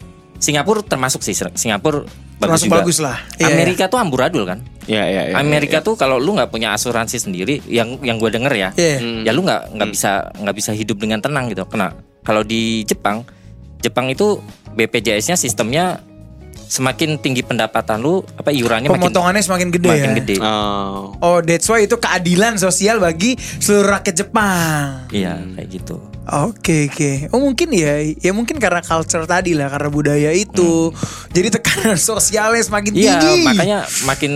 S1: Singapura termasuk sih Singapura bagus
S3: Termasuk
S1: juga
S3: bagus lah. Iya,
S1: Amerika tuh amburadul kan
S2: ya, ya, ya,
S1: Amerika tuh kalau lu nggak punya asuransi sendiri yang yang gue denger ya
S3: Iya.
S2: Hmm.
S1: ya lu nggak nggak bisa nggak bisa hidup dengan tenang gitu kena kalau di Jepang Jepang itu BPJS-nya sistemnya semakin tinggi pendapatan lu apa iurannya makin
S3: Pemotongannya semakin gede
S1: makin
S3: ya.
S1: gede
S2: Oh.
S3: Oh, that's why itu keadilan sosial bagi seluruh rakyat Jepang.
S1: Iya kayak gitu.
S3: Oke, oke. Oh, mungkin ya, ya mungkin karena culture tadi lah, karena budaya itu. Jadi tekanan sosialnya semakin
S1: Hmm. Iya
S3: tinggi.
S1: makanya makin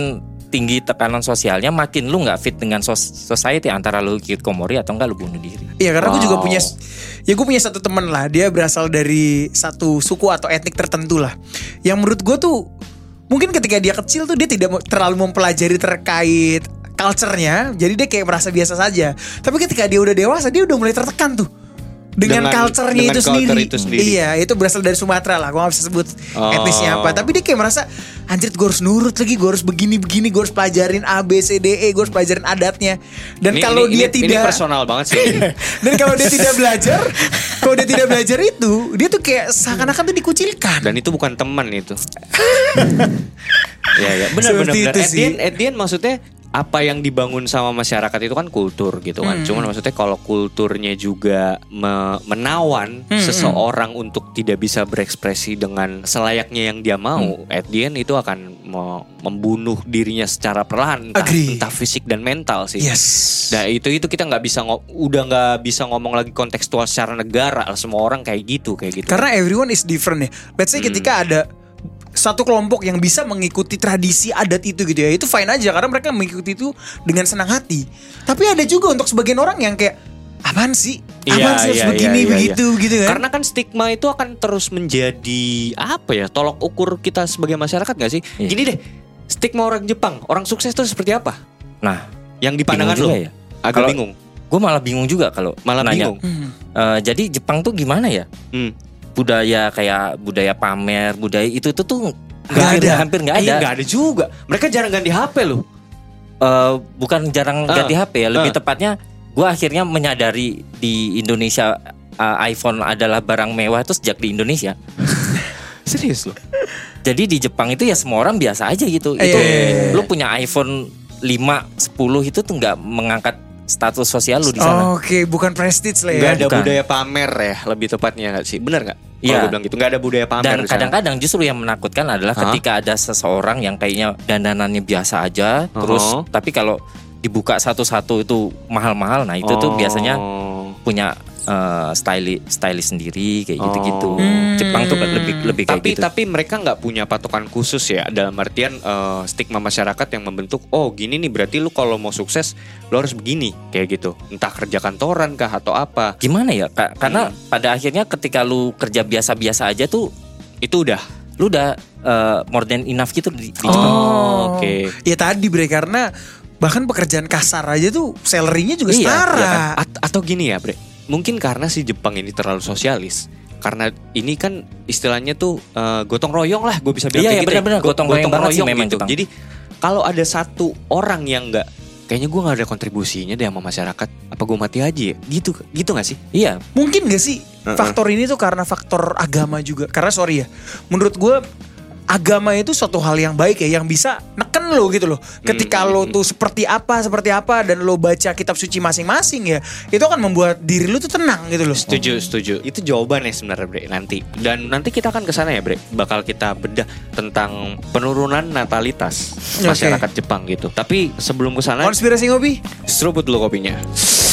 S1: tinggi tekanan sosialnya makin lu nggak fit dengan sos- society antara lu hikikomori atau enggak lu bunuh diri.
S3: Iya, karena gue juga
S2: Wow.
S3: punya ya gue punya satu temen lah, dia berasal dari satu suku atau etnik tertentu lah. Yang menurut gue tuh mungkin ketika dia kecil tuh dia tidak mau- terlalu mempelajari terkait culture-nya, jadi dia kayak merasa biasa saja. Tapi ketika dia udah dewasa, dia udah mulai tertekan tuh. Dengan,
S2: Dengan- dengan
S3: culture-nya itu,
S2: culture
S3: sendiri.
S2: itu sendiri.
S3: Iya, itu berasal dari Sumatera lah. Gue gak bisa sebut
S2: Oh.
S3: etnisnya apa. Tapi dia kayak merasa, anjir gue harus nurut lagi, gue harus begini-begini, gue harus pelajarin A, B, C, D, E, gue harus pelajarin adatnya. Dan
S2: Ini-
S3: kalau
S2: ini-
S3: dia
S2: ini-
S3: tidak...
S2: ini personal banget sih.
S3: Dan kalau dia tidak belajar, kalau dia tidak belajar itu, dia tuh kayak seakan-akan tuh dikucilkan.
S2: Dan itu bukan teman itu. ya ya, benar benar.
S3: Seperti
S2: benar.
S3: itu
S2: At the
S3: sih.
S2: end, at the end maksudnya apa yang dibangun sama masyarakat itu kan kultur gitu
S3: Hmm.
S2: kan. Cuman maksudnya kalau kulturnya juga me- menawan
S3: Hmm,
S2: seseorang untuk tidak bisa berekspresi dengan selayaknya yang dia mau,
S3: Hmm.
S2: at the end itu akan me- membunuh dirinya secara perlahan entah,
S3: Agree.
S2: entah fisik dan mental sih.
S3: Yes.
S2: Nah itu itu kita nggak bisa ngo- udah nggak bisa ngomong lagi kontekstual secara negara lah. semua orang kayak gitu kayak gitu.
S3: Karena everyone is different ya. Let's say ketika
S2: Hmm.
S3: ada satu kelompok yang bisa mengikuti tradisi adat itu gitu ya, itu fine aja karena mereka mengikuti itu dengan senang hati. Tapi ada juga untuk sebagian orang yang kayak apaan sih?
S2: Iya,
S3: Apaan sih harus
S2: iya,
S3: begini
S2: iya, iya,
S3: begitu gitu kan?
S2: Karena kan stigma itu akan terus menjadi apa ya tolok ukur kita sebagai masyarakat gak sih?
S1: Iya.
S2: Gini deh, stigma orang Jepang, orang sukses itu seperti apa?
S1: Nah
S2: Yang di pandangan
S1: Bingung
S2: lo?
S1: juga ya.
S2: Agak
S1: Kalau-
S2: bingung.
S1: Gue malah bingung juga kalau
S2: Malah
S1: nanya.
S2: bingung.
S3: Hmm.
S1: Eh, jadi Jepang tuh gimana ya?
S2: Hmm.
S1: Budaya kayak budaya pamer, budaya itu tuh tuh
S3: Nggak
S1: hampir-
S3: ada.
S1: hampir nggak ada.
S2: Iya, nggak ada juga. Mereka jarang ganti HP loh.
S1: Eh, bukan jarang
S2: Ah,
S1: ganti HP ya, lebih
S2: ah.
S1: tepatnya gue akhirnya menyadari di Indonesia eh, iPhone adalah barang mewah itu sejak di Indonesia.
S2: Serius loh.
S1: Jadi di Jepang itu ya semua orang biasa aja gitu.
S3: Eh,
S1: itu
S3: iya, iya, iya.
S1: lu punya iPhone 5, 10 itu tuh nggak mengangkat status sosial lu di sana.
S3: Oke, bukan prestige lah ya.
S2: Nggak ada
S1: bukan.
S2: budaya pamer ya, lebih tepatnya nggak sih? Bener nggak? Kalau
S1: Iya.
S2: gue bilang gitu, nggak ada budaya pamer.
S1: Dan
S2: di sana.
S1: kadang-kadang justru yang menakutkan adalah
S2: Hah?
S1: ketika ada seseorang yang kayaknya dandanannya biasa aja, terus
S2: Oh.
S1: tapi kalau dibuka satu-satu itu mahal-mahal. Nah, itu tuh
S2: Oh.
S1: biasanya punya eh, styli styli sendiri kayak gitu-gitu.
S2: Oh. Hmm.
S1: Jepang tuh lebih lebih kayak
S2: Tapi
S1: gitu.
S2: tapi mereka nggak punya patokan khusus ya dalam artian eh, stigma masyarakat yang membentuk oh gini nih berarti lu kalau mau sukses lu harus begini kayak gitu entah kerja kantoran kah atau apa
S1: Gimana ya? Ka-
S2: Hmm.
S1: Karena pada akhirnya ketika lu kerja biasa-biasa aja tuh
S2: itu udah
S1: lu udah eh, more than enough gitu di, di Jepang.
S3: Oh,
S2: oke.
S3: Ya tadi Bre karena bahkan pekerjaan kasar aja tuh salarynya juga
S1: Iya,
S3: setara.
S1: iya kan?
S2: At- atau gini ya, Bre. Mungkin karena si Jepang ini terlalu sosialis. Karena ini kan istilahnya tuh eh, gotong royong lah, gue bisa bilang
S1: Iya, iya,
S2: kayak gitu ya.
S1: benar-benar,
S2: Go-
S1: gotong royong banget sih memang
S2: gitu.
S1: Jepang.
S2: Jadi kalau ada satu orang yang nggak kayaknya gue nggak ada kontribusinya deh sama masyarakat, apa gue mati aja ya? Gitu, gitu nggak sih?
S1: Iya,
S3: Mungkin gak sih faktor ini tuh karena faktor agama juga. Karena sorry ya, menurut gue agama itu suatu hal yang baik ya, yang bisa neken lo gitu loh. Ketika
S2: Hmm.
S3: lo tuh seperti apa, seperti apa, dan lo baca kitab suci masing-masing ya, itu akan membuat diri lo tuh tenang gitu loh.
S2: Setuju, setuju. Itu jawabannya sebenarnya, Bre, nanti. Dan nanti kita akan ke sana ya, Bre. Bakal kita bedah tentang penurunan natalitas
S3: Oke.
S2: masyarakat Jepang gitu. Tapi sebelum ke sana,
S3: Konspirasi ngopi?
S2: seruput dulu kopinya.